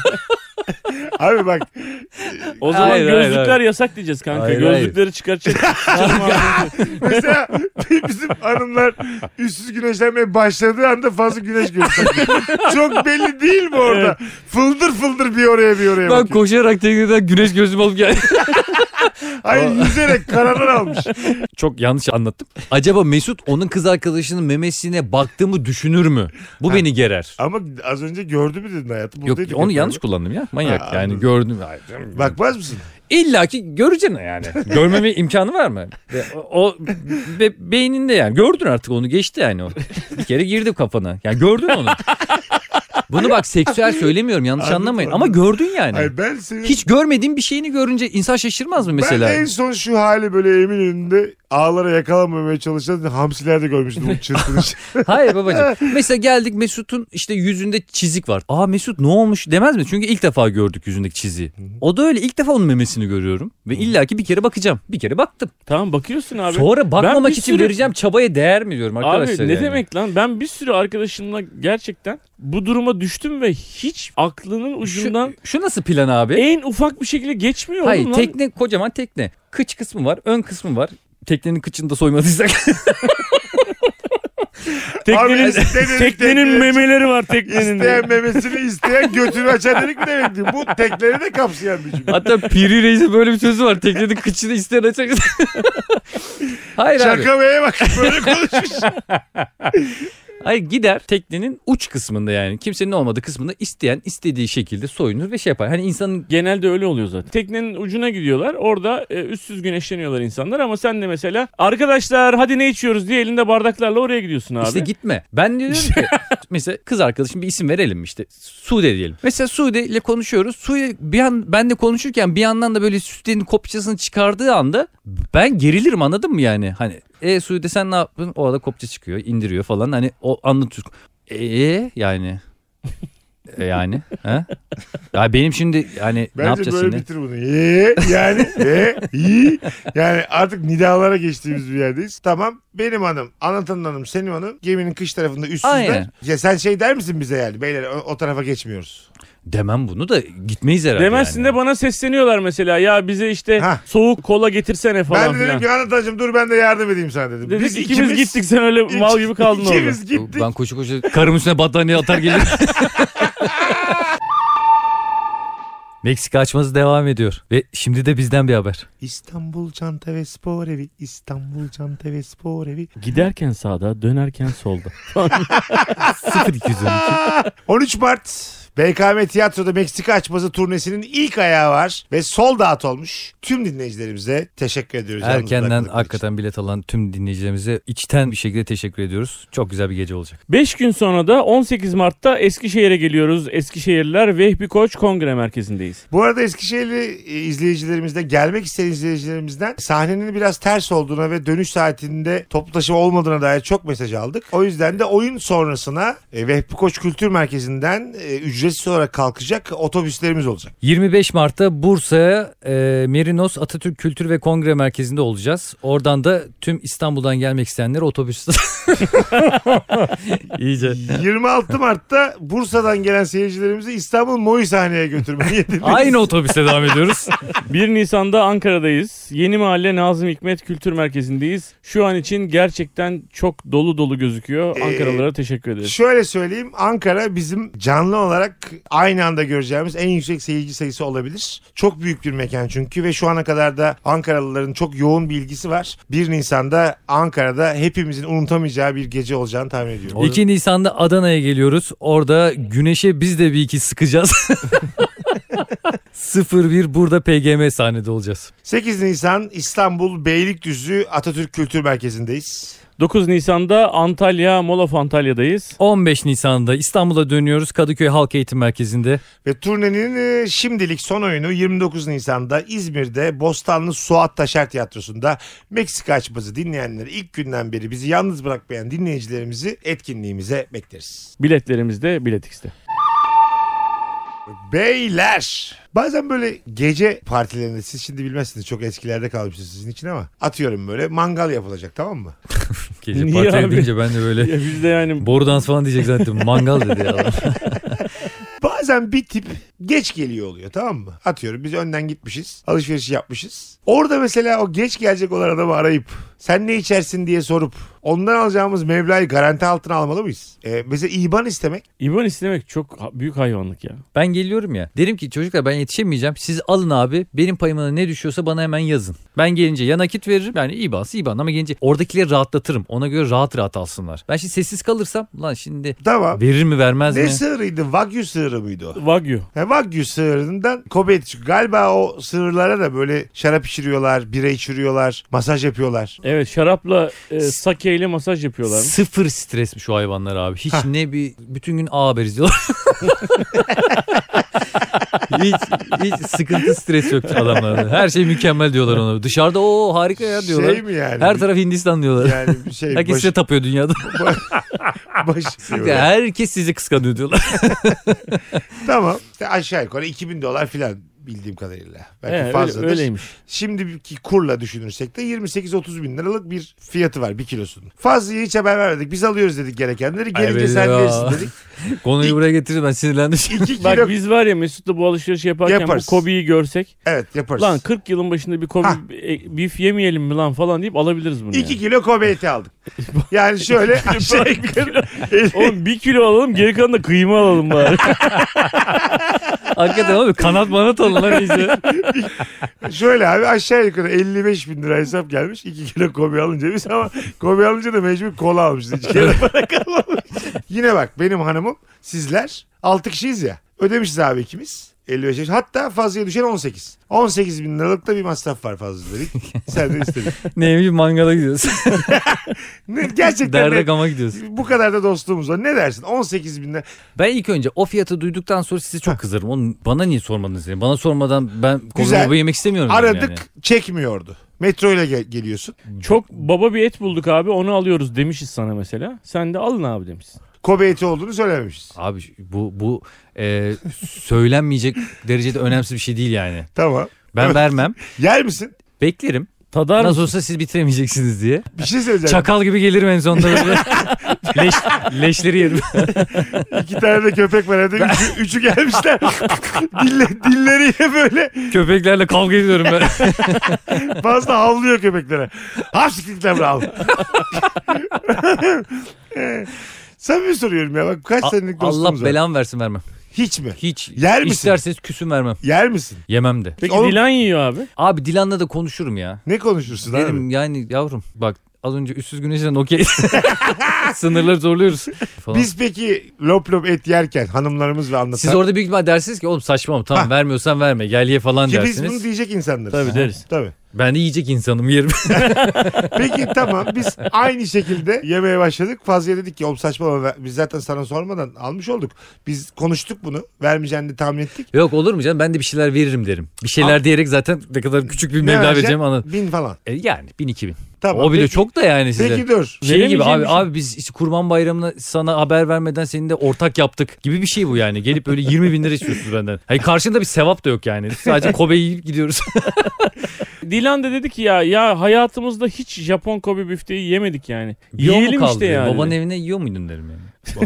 Speaker 1: Abi bak
Speaker 3: O zaman
Speaker 2: Hayır, hayır,
Speaker 3: gözlükler
Speaker 2: hayır.
Speaker 3: yasak diyeceğiz kanka.
Speaker 2: Hayır, [laughs]
Speaker 3: Gözlükleri çıkaracak.
Speaker 1: mesela [laughs] bizim hanımlar üstsüz güneşlenmeye başladığı anda fazla güneş gösteriyor. Çok belli değil mi orada? Fıldır fıldır bir oraya bir oraya
Speaker 2: Ben
Speaker 1: bakıyor.
Speaker 2: koşarak tekneden güneş gözüm alıp geldim.
Speaker 1: Hayır yüzerek kararlar
Speaker 2: [laughs]
Speaker 1: almış.
Speaker 2: Çok yanlış anlattım. Acaba Mesut onun kız arkadaşının memesine baktığımı düşünür mü? Bu beni gerer.
Speaker 1: Ama az önce gördü mü dedin hayatım?
Speaker 2: Yok
Speaker 1: Buradaydık
Speaker 2: onu
Speaker 1: hep
Speaker 2: yanlış kullandım ya. Manyak
Speaker 1: Ha,
Speaker 2: yani
Speaker 1: anladım.
Speaker 2: gördüm. Hayır.
Speaker 1: böyle. Bakmaz mısın?
Speaker 2: İlla ki göreceksin
Speaker 1: [laughs]
Speaker 2: yani. Görmeme imkanı var mı? Ve O, o be- beyninde yani. Gördün artık onu geçti yani. O. Bir kere girdi kafana. Yani gördün onu. Bunu bak seksüel söylemiyorum yanlış
Speaker 1: Anladım,
Speaker 2: anlamayın.
Speaker 1: anladım.
Speaker 2: Ama gördün yani.
Speaker 1: Hayır ben senin...
Speaker 2: Hiç görmediğin bir şeyini görünce insan şaşırmaz mı mesela?
Speaker 1: Ben en son şu hali böyle emin önünde ağlara yakalanmamaya çalışan hamsilerde görmüştüm bu çırpınış.
Speaker 2: [laughs] Hayır babacığım. Mesela geldik Mesut'un işte yüzünde çizik var. Aa Mesut ne olmuş demez mi? Çünkü ilk defa gördük yüzündeki çiziği. O da öyle ilk defa onun memesini görüyorum. Ve illaki bir kere bakacağım. Bir kere baktım.
Speaker 3: tamam bakıyorsun abi.
Speaker 2: Sonra bakmamak
Speaker 3: bir
Speaker 2: için
Speaker 3: sürü-
Speaker 2: vereceğim çabaya değer mi diyorum
Speaker 3: Abi
Speaker 2: arkadaşlar.
Speaker 3: ne
Speaker 2: yani.
Speaker 3: demek lan? Ben bir sürü arkadaşımla gerçekten bu duruma düştüm ve hiç aklının ucundan
Speaker 2: Şu, şu nasıl plan abi?
Speaker 3: en ufak bir şekilde geçmiyor
Speaker 2: Hayır
Speaker 3: oğlum lan.
Speaker 2: tekne kocaman tekne. Kıç kısmı var ön kısmı var. Teknenin kıçını da
Speaker 3: [laughs]
Speaker 2: soymadıysak.
Speaker 3: [laughs] teknenin,
Speaker 1: Abi, teknenin-
Speaker 3: teknenin
Speaker 1: teknenin-
Speaker 2: [laughs]
Speaker 3: memeleri var teknenin.
Speaker 1: isteyen memesini isteyen götünü açan dedik mi demek değil. Bu tekleri de kapsayan bir cümle.
Speaker 2: Hatta Piri Reis'in böyle bir sözü var. Teknenin kıçını isteyen açar. [laughs] Hayır abi.
Speaker 1: Şaka beye bak böyle konuşmuş.
Speaker 2: Hayır gider teknenin uç kısmında yani kimsenin olmadığı kısmında isteyen istediği şekilde soyunur ve şey yapar. Hani insanın
Speaker 3: Genelde öyle oluyor zaten. Teknenin ucuna gidiyorlar. Orada e, üstsüz güneşleniyorlar insanlar ama sen de mesela arkadaşlar hadi ne içiyoruz diye elinde bardaklarla oraya gidiyorsun abi.
Speaker 2: işte gitme. Ben diyorum ki mesela kız arkadaşım bir isim verelim mi işte Sude diyelim. Mesela Sude ile konuşuyoruz. Sude bir an ben de konuşurken bir yandan da böyle Sude'nin kopçasını çıkardığı anda ben gerilirim anladın mı yani? Hani e Sude sen ne yaptın? O arada kopça çıkıyor indiriyor falan hani o anlatıyor. E yani E, yani ha? Ya benim şimdi yani ne
Speaker 1: Bence
Speaker 2: yapacağız
Speaker 1: böyle
Speaker 2: şimdi?
Speaker 1: bitir bunu. Ye, yani ye, yi. yani artık nidalara geçtiğimiz bir yerdeyiz. Tamam benim hanım, anlatanın hanım, senin hanım geminin kış tarafında üstsüzler.
Speaker 2: Aynen.
Speaker 1: Ya sen şey der misin bize yani beyler o, o tarafa geçmiyoruz.
Speaker 2: Demem bunu da gitmeyiz herhalde.
Speaker 3: Demezsin
Speaker 2: yani.
Speaker 3: de bana sesleniyorlar mesela ya bize işte
Speaker 1: Hah.
Speaker 3: soğuk kola getirsene falan
Speaker 1: ben de dedim
Speaker 3: filan.
Speaker 1: ki anlatancım dur ben de yardım edeyim sana dedim.
Speaker 3: Dedik ikimiz, gittik sen öyle
Speaker 1: İki-
Speaker 3: mal gibi kaldın orada.
Speaker 1: İkimiz gittik.
Speaker 2: Ben koşu koşu karım üstüne battaniye atar gelirim. Meksika açması devam ediyor. Ve şimdi de bizden bir haber.
Speaker 1: İstanbul Çanta ve Spor Evi, İstanbul Çanta ve Spor Evi.
Speaker 3: Giderken sağda dönerken [laughs] solda.
Speaker 2: 0212.
Speaker 1: 13 Mart BKM Tiyatro'da Meksika açması turnesinin ilk ayağı var ve sol dağıt olmuş. Tüm dinleyicilerimize teşekkür ediyoruz. yalnız
Speaker 2: Erkenden
Speaker 1: bırakmadıkları için.
Speaker 2: hakikaten bilet alan tüm dinleyicilerimize içten bir şekilde teşekkür ediyoruz. Çok güzel bir gece olacak.
Speaker 3: 5 gün sonra da 18 Mart'ta Eskişehir'e geliyoruz. Eskişehirliler Vehbi Koç
Speaker 1: [laughs]
Speaker 3: Kongre Merkezi'ndeyiz.
Speaker 1: Bu arada Eskişehirli e, izleyicilerimizden, gelmek isteyen izleyicilerimizden sahnenin biraz ters olduğuna ve dönüş saatinde toplu taşıma olmadığına dair çok mesaj aldık. O yüzden de oyun sonrasına e, Vehbi Koç Kültür Merkezi'nden e, ücretsiz olarak kalkacak otobüslerimiz
Speaker 2: [laughs]
Speaker 1: olacak.
Speaker 2: 25 Mart'ta Bursa'ya e, Merinos Atatürk Kültür ve Kongre Merkezi'nde olacağız. Oradan da tüm İstanbul'dan gelmek isteyenler otobüste. [laughs] İyice.
Speaker 1: [laughs] 26 Mart'ta Bursa'dan gelen seyircilerimizi İstanbul Moy sahneye götürmeyi
Speaker 2: [laughs] Aynı otobüste devam ediyoruz.
Speaker 3: 1 Nisan'da Ankara'dayız. Yeni Mahalle Nazım Hikmet Kültür Merkezi'ndeyiz. Şu an için gerçekten çok dolu dolu gözüküyor.
Speaker 1: Ee,
Speaker 3: Ankaralılara teşekkür ederiz.
Speaker 1: Şöyle söyleyeyim Ankara bizim canlı olarak olarak aynı anda göreceğimiz en yüksek seyirci sayısı olabilir. Çok büyük bir mekan çünkü ve şu ana kadar da Ankaralıların çok yoğun bir ilgisi var. 1 Nisan'da Ankara'da hepimizin unutamayacağı bir gece olacağını tahmin ediyorum.
Speaker 2: 2 Nisan'da Adana'ya geliyoruz. Orada güneşe biz de bir iki
Speaker 3: [laughs]
Speaker 2: sıkacağız. 01 burada PGM sahnede olacağız.
Speaker 1: 8 Nisan İstanbul Beylikdüzü Atatürk Kültür Merkezi'ndeyiz.
Speaker 3: 9 Nisan'da Antalya, Molof Antalya'dayız.
Speaker 2: 15 Nisan'da İstanbul'a dönüyoruz Kadıköy Halk Eğitim Merkezi'nde.
Speaker 1: Ve turnenin e, şimdilik son oyunu 29 Nisan'da İzmir'de Bostanlı Suat Taşer Tiyatrosu'nda Meksika açması dinleyenleri ilk günden beri bizi yalnız bırakmayan dinleyicilerimizi etkinliğimize bekleriz.
Speaker 3: Biletlerimiz de [laughs] Biletix'te.
Speaker 1: Beyler! Bazen böyle gece partilerinde siz şimdi bilmezsiniz çok eskilerde kalmışsınız sizin için ama atıyorum böyle mangal yapılacak tamam mı?
Speaker 2: Gece
Speaker 3: Niye
Speaker 2: partiye
Speaker 3: abi?
Speaker 2: deyince ben de böyle
Speaker 3: [laughs] Ya biz de yani
Speaker 2: boru dans falan diyecek zannettim. Mangal dedi ya.
Speaker 3: [laughs]
Speaker 2: adam.
Speaker 1: Bazen bir tip geç geliyor oluyor tamam mı? Atıyorum biz önden gitmişiz. Alışveriş yapmışız. Orada mesela o geç gelecek olan adamı arayıp sen ne içersin diye sorup ondan alacağımız meblağı garanti altına almalı mıyız? Ee, mesela IBAN istemek.
Speaker 3: İban istemek çok ha- büyük hayvanlık ya.
Speaker 2: Ben geliyorum ya. Derim ki çocuklar ben yetişemeyeceğim. Siz alın abi. Benim payıma ne düşüyorsa bana hemen yazın. Ben gelince ya nakit veririm. Yani iyi bası iyi bana ama gelince oradakileri rahatlatırım. Ona göre rahat rahat alsınlar. Ben şimdi sessiz kalırsam lan şimdi
Speaker 1: Tamam.
Speaker 2: verir mi vermez
Speaker 1: Ne
Speaker 2: mi?
Speaker 1: sığırıydı? Wagyu sığırı mıydı o?
Speaker 3: Wagyu.
Speaker 1: Ha, Wagyu sığırından Kobe eti çıkıyor. Galiba o sığırlara da böyle şarap içiriyorlar, bira içiriyorlar, masaj yapıyorlar.
Speaker 3: Evet şarapla e, sake ile masaj yapıyorlar.
Speaker 2: Sıfır stresmiş o hayvanlar abi. Hiç ne bir bütün gün A haber izliyorlar.
Speaker 1: [laughs]
Speaker 2: hiç, hiç sıkıntı stres yok adamlarda. Her şey mükemmel diyorlar ona. Dışarıda o harika ya diyorlar.
Speaker 1: Şey mi yani?
Speaker 2: Her taraf Hindistan diyorlar.
Speaker 1: yani bir şey
Speaker 2: Herkes
Speaker 1: baş, Şey,
Speaker 2: size tapıyor dünyada.
Speaker 1: baş- [laughs]
Speaker 2: Herkes sizi kıskanıyor diyorlar. [laughs]
Speaker 1: Tamam. İşte aşağı yukarı 2000 dolar filan bildiğim kadarıyla. Belki
Speaker 3: He, öyle,
Speaker 1: fazladır.
Speaker 3: öyleymiş.
Speaker 1: Şimdiki kurla düşünürsek de 28-30 bin liralık bir fiyatı var bir kilosunun. Fazlayı hiç haber vermedik. Biz alıyoruz dedik gerekenleri. Gelince
Speaker 2: evet
Speaker 1: sen
Speaker 2: ya.
Speaker 1: verirsin
Speaker 3: [laughs]
Speaker 1: dedik.
Speaker 2: Konuyu buraya getirir ben sinirlendim. [laughs]
Speaker 1: 2
Speaker 3: Bak
Speaker 1: kilo.
Speaker 3: biz var ya Mesut'la bu alışverişi yaparken
Speaker 1: Yaparız.
Speaker 3: bu Kobe'yi görsek.
Speaker 1: Evet yaparız.
Speaker 3: Lan 40 yılın başında bir Kobe
Speaker 1: Ha.
Speaker 3: e, beef yemeyelim mi lan falan deyip alabiliriz bunu
Speaker 1: 2
Speaker 3: yani.
Speaker 1: kilo Kobe eti aldık. Yani
Speaker 3: [laughs]
Speaker 1: şöyle aşağı yukarı.
Speaker 3: Oğlum bir kilo alalım geri kalan da kıyma alalım bari.
Speaker 1: [laughs]
Speaker 3: [laughs]
Speaker 2: Hakikaten abi kanat manat alın lan
Speaker 1: [laughs]
Speaker 2: iyice.
Speaker 1: Şöyle abi aşağı yukarı 55 bin lira hesap gelmiş. 2 kilo Kobe alınca biz ama Kobe alınca da mecbur kola almışız. Hiç kere para kalmamış. Yine bak benim hanımım sizler 6 kişiyiz ya. Ödemişiz abi ikimiz. 55 yaş. Hatta fazlaya düşen 18. 18 bin liralık da bir masraf var fazla dedik. Sen de istedin.
Speaker 2: Neymiş mangala gidiyorsun.
Speaker 1: Ne, gerçekten
Speaker 2: [laughs] Derde
Speaker 1: ne,
Speaker 2: gama gidiyorsun.
Speaker 1: bu kadar da dostluğumuz var. Ne dersin? 18 bin lira.
Speaker 2: Ben ilk önce o fiyatı duyduktan sonra size çok kızarım. Onu bana niye sormadınız? Yani? Bana sormadan ben
Speaker 1: Güzel.
Speaker 2: kolumu yemek istemiyorum. derim
Speaker 1: Aradık
Speaker 2: Yani.
Speaker 1: çekmiyordu. Metro ile gel- geliyorsun.
Speaker 3: Çok baba bir et bulduk abi onu alıyoruz demişiz sana mesela. Sen de alın abi demişsin.
Speaker 1: Kobe eti olduğunu söylememişiz.
Speaker 2: Abi bu bu e, söylenmeyecek derecede önemsiz bir şey değil yani.
Speaker 1: Tamam.
Speaker 2: Ben vermem.
Speaker 1: Yer misin?
Speaker 2: Beklerim.
Speaker 3: Tadar
Speaker 2: Nasıl olsa siz bitiremeyeceksiniz diye.
Speaker 1: Bir şey söyleyeceğim.
Speaker 2: Çakal gibi gelirim en sonunda.
Speaker 1: [laughs]
Speaker 2: böyle. Leş, leşleri yerim.
Speaker 1: İki tane de köpek var evde. Üçü, üçü
Speaker 2: [laughs]
Speaker 1: gelmişler. Dille, dilleriyle böyle
Speaker 2: Köpeklerle kavga ediyorum ben.
Speaker 1: [laughs] fazla havlıyor köpeklere. Hapsiklikler bravo. [laughs] Sen mi soruyorum ya? Bak kaç senelik dostumuz
Speaker 2: Allah
Speaker 1: var.
Speaker 2: belamı versin vermem.
Speaker 1: Hiç mi?
Speaker 2: Hiç.
Speaker 1: Yer misin?
Speaker 2: İsterseniz küsüm vermem.
Speaker 1: Yer misin?
Speaker 2: Yemem de.
Speaker 3: Peki
Speaker 1: Oğlum-
Speaker 3: Dilan yiyor abi.
Speaker 2: Abi Dilan'la da konuşurum ya.
Speaker 1: Ne konuşursun abi?
Speaker 2: Derim yani yavrum bak az önce üstsüz
Speaker 1: [laughs]
Speaker 2: güneşten okey. [laughs] Sınırları zorluyoruz. Falan.
Speaker 1: Biz peki lop lop et yerken hanımlarımız ve anlatan.
Speaker 2: Siz orada büyük ihtimal dersiniz ki oğlum saçmalama tamam
Speaker 1: Ha.
Speaker 2: vermiyorsan verme gel ye falan
Speaker 1: ki biz
Speaker 2: dersiniz.
Speaker 1: bunu diyecek insanlarız.
Speaker 3: Tabii deriz.
Speaker 1: Tabii.
Speaker 2: Ben de yiyecek insanım yerim.
Speaker 1: Peki tamam
Speaker 2: [laughs]
Speaker 1: biz aynı şekilde yemeye başladık. Fazlaya dedik ki oğlum saçmalama ver- biz zaten sana sormadan almış olduk. Biz konuştuk bunu. Vermeyeceğini de tahmin ettik.
Speaker 2: Yok olur mu canım ben de bir şeyler veririm derim. Bir şeyler diyerek zaten ne kadar küçük bir mevla
Speaker 1: vereceksin?
Speaker 2: vereceğimi anladım.
Speaker 1: Bin falan.
Speaker 2: E, yani bin iki bin.
Speaker 1: Tamam.
Speaker 2: o bile
Speaker 1: peki,
Speaker 2: çok da yani size.
Speaker 1: Peki dur.
Speaker 2: şey gibi
Speaker 3: Veremeyeceğim
Speaker 2: abi
Speaker 3: bir şey.
Speaker 2: abi biz işte kurban bayramına sana haber vermeden seni de ortak yaptık gibi bir şey bu yani. Gelip böyle 20 bin lira istiyorsunuz benden. Hayır karşında bir sevap da yok yani. Sadece Kobe'ye yiyip gidiyoruz.
Speaker 3: Dilan da dedi ki ya ya hayatımızda hiç Japon Kobe büfteyi yemedik yani.
Speaker 2: Yiyor mu
Speaker 3: Yiyelim
Speaker 2: kaldı
Speaker 3: işte
Speaker 2: diyor.
Speaker 3: yani.
Speaker 2: Babanın evine yiyor muydun derim yani.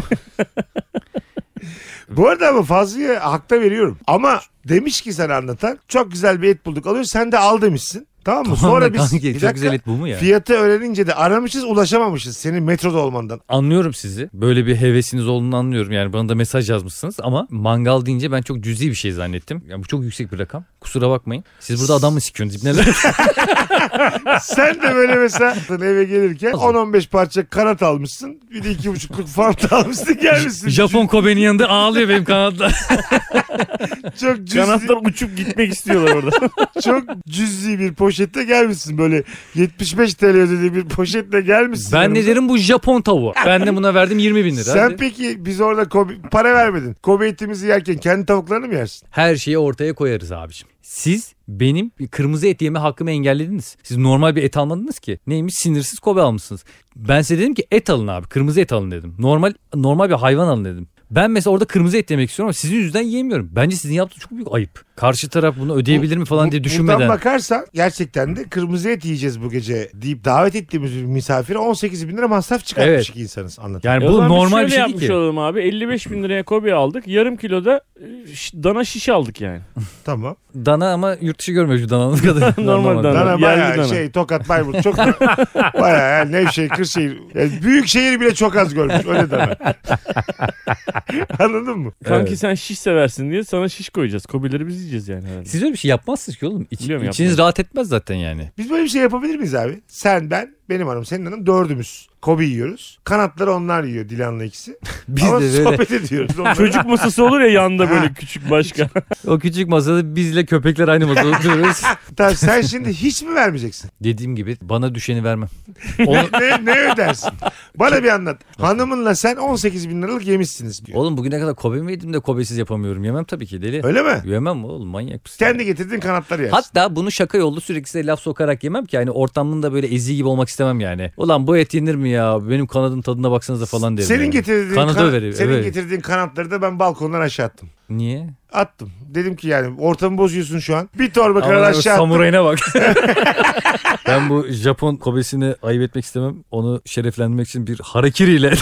Speaker 1: Bu arada ama Fazlı'ya hakta veriyorum. Ama demiş ki sen anlatan çok güzel bir et bulduk alıyor sen de al demişsin. Tamam mı?
Speaker 2: Sonra
Speaker 1: Sonra biz bir
Speaker 2: çok
Speaker 1: dakika,
Speaker 2: güzel et bu mu ya?
Speaker 1: fiyatı öğrenince de aramışız ulaşamamışız senin metroda
Speaker 2: [laughs]
Speaker 1: olmandan.
Speaker 2: Anlıyorum sizi. Böyle bir hevesiniz olduğunu anlıyorum. Yani bana da mesaj yazmışsınız ama mangal deyince ben çok cüzi bir şey zannettim. Ya bu çok yüksek bir rakam. Kusura bakmayın. Siz burada adam mı sikiyorsunuz? İbneler?
Speaker 1: Sen de böyle
Speaker 2: [laughs]
Speaker 1: mesela eve gelirken 10-15 parça kanat almışsın. Bir de 2,5'luk fanta almışsın gelmişsin.
Speaker 2: Japon Kobe'nin yanında ağlıyor benim kanatlar.
Speaker 1: Çok cüzi,
Speaker 3: Kanatlar uçup gitmek istiyorlar orada.
Speaker 1: [laughs]
Speaker 2: [laughs]
Speaker 1: çok cüzi bir poşette gelmişsin. Böyle 75 TL ödediği bir poşetle gelmişsin.
Speaker 2: Ben ne
Speaker 1: yanımıza.
Speaker 2: derim bu Japon tavuğu. Ben de buna verdim 20 bin lira.
Speaker 1: Sen
Speaker 2: Hadi.
Speaker 1: peki biz orada Kobe- para vermedin. Kobe etimizi yerken kendi tavuklarını mı yersin?
Speaker 2: Her şeyi ortaya koyarız abicim. Siz benim kırmızı et yeme hakkımı engellediniz. Siz normal bir et almadınız ki. Neymiş sinirsiz Kobe almışsınız. Ben size dedim ki et alın abi. Kırmızı et alın dedim. Normal normal bir hayvan alın dedim. Ben mesela orada kırmızı et yemek istiyorum ama sizin yüzünden yiyemiyorum. Bence sizin yaptığınız çok büyük ayıp. Karşı taraf bunu ödeyebilir mi falan diye
Speaker 1: Bu-
Speaker 2: düşünmeden.
Speaker 1: Buradan bakarsan gerçekten de kırmızı et yiyeceğiz bu gece deyip davet ettiğimiz bir misafire 18 bin lira masraf çıkartmış
Speaker 2: Evet.
Speaker 1: iki insanız anladın.
Speaker 2: Yani
Speaker 3: E O
Speaker 2: bu
Speaker 3: zaman biz
Speaker 2: normal bir
Speaker 3: şöyle
Speaker 2: şey değil
Speaker 3: yapmış
Speaker 2: ki.
Speaker 3: olalım abi. 55 bin liraya Kobe aldık. Yarım kiloda e, şiş- dana şiş aldık yani.
Speaker 1: Tamam.
Speaker 2: Dana ama yurt dışı görmemiş bir dananın kadar.
Speaker 3: [laughs] Normal dana.
Speaker 1: Dana
Speaker 3: Yerli
Speaker 1: bayağı
Speaker 3: dana.
Speaker 1: şey Tokat Bayburt
Speaker 2: [laughs]
Speaker 1: çok bayağı yani Nevşehir Kırşehir yani büyük şehir bile çok az görmüş öyle
Speaker 2: [laughs]
Speaker 1: deme. Anladın mı?
Speaker 3: Kanki
Speaker 2: Evet.
Speaker 3: sen şiş seversin diye sana şiş koyacağız. Kobeleri biz yiyeceğiz yani
Speaker 2: [laughs]
Speaker 3: herhalde.
Speaker 2: Siz öyle bir şey yapmazsınız ki oğlum. İç,
Speaker 3: Biliyorum,
Speaker 2: içiniz
Speaker 3: yapmam.
Speaker 2: rahat etmez zaten yani.
Speaker 1: Biz böyle bir şey yapabilir miyiz abi? Sen ben benim hanım senin hanım dördümüz. Kobi yiyoruz. Kanatları onlar yiyor Dilan'la ikisi.
Speaker 2: Biz
Speaker 1: Ama
Speaker 2: de böyle
Speaker 1: sohbet ediyoruz. onlarla.
Speaker 3: Çocuk masası olur ya yanında
Speaker 1: Ha.
Speaker 3: böyle küçük başka.
Speaker 2: o küçük masada bizle köpekler aynı masada
Speaker 3: [laughs]
Speaker 2: oturuyoruz.
Speaker 1: Tamam, sen şimdi hiç mi vermeyeceksin?
Speaker 2: Dediğim gibi bana düşeni vermem. Onu-
Speaker 1: ne, ne ödersin? Bana bir anlat. Hanımınla sen 18 bin liralık yemişsiniz diyor.
Speaker 2: oğlum bugüne kadar Kobe mi yedim de Kobe'siz yapamıyorum. Yemem tabii ki deli.
Speaker 1: Öyle mi?
Speaker 2: Yemem mi oğlum manyak mısın?
Speaker 1: Kendi getirdin kanatları yersin.
Speaker 2: Hatta bunu şaka yollu sürekli size laf sokarak yemem ki. Yani ortamında böyle ezi gibi olmak istemem yani. Ulan bu et yenir mi ya? Benim kanadın tadına baksanıza falan derim.
Speaker 1: senin
Speaker 2: yani.
Speaker 1: getirdiğin
Speaker 2: Kanadı
Speaker 1: kan-
Speaker 2: veriyor,
Speaker 1: senin
Speaker 2: evet.
Speaker 1: getirdiğin kanatları da ben balkondan aşağı attım.
Speaker 2: Niye?
Speaker 1: Attım. Dedim ki yani ortamı bozuyorsun şu an. Bir torba kanat
Speaker 2: Aman abi,
Speaker 1: aşağı attım. [laughs]
Speaker 2: Samurayına bak. [laughs] ben bu Japon Kobe'sini ayıp etmek istemem. Onu şereflendirmek için bir
Speaker 1: [laughs]
Speaker 2: harekiriyle.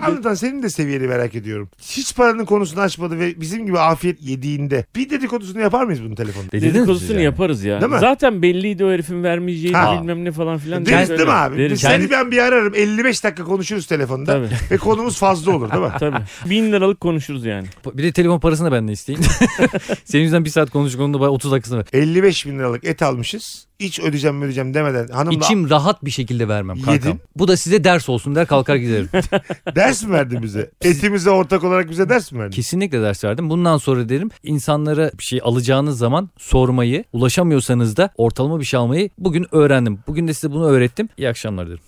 Speaker 1: Anlatan senin de seviyeni merak ediyorum. Hiç paranın konusunu açmadı ve bizim gibi afiyet yediğinde bir dedikodusunu yapar mıyız bunun telefonda?
Speaker 2: E, Dediniz mi siz
Speaker 3: Dedikodusunu
Speaker 2: yani?
Speaker 3: yaparız ya.
Speaker 1: Değil mi?
Speaker 3: Zaten belliydi o herifin vermeyeceğini
Speaker 2: Ha.
Speaker 3: bilmem ne falan filan.
Speaker 1: Deriz
Speaker 3: diye
Speaker 1: değil mi
Speaker 3: söyle.
Speaker 1: abi?
Speaker 3: Deriz.
Speaker 1: Biz Seni ben bir ararım. 55 dakika konuşuruz telefonda.
Speaker 3: Tabii
Speaker 1: Ve konumuz fazla olur
Speaker 3: [laughs]
Speaker 1: değil mi?
Speaker 3: tabii. Bin liralık konuşuruz yani.
Speaker 2: Bir de telefon parasını da
Speaker 1: [laughs]
Speaker 2: benden isteyin. Senin yüzünden bir saat konuştuk onun da bayağı 30 dakikasını ver.
Speaker 1: 55 bin liralık et almışız. Hiç ödeyeceğim ödeyeceğim demeden hanımla
Speaker 2: İçim rahat bir şekilde vermem kankam.
Speaker 1: Yedim.
Speaker 2: Bu da size ders olsun der kalkar giderim.
Speaker 1: ders mi verdi
Speaker 3: [laughs]
Speaker 1: bize? Etimize ortak olarak bize ders mi verdi?
Speaker 2: [laughs] Kesinlikle ders verdim. Bundan sonra derim insanlara bir şey alacağınız zaman sormayı, ulaşamıyorsanız da ortalama bir şey almayı bugün öğrendim. Bugün de size bunu öğrettim. İyi akşamlar derim.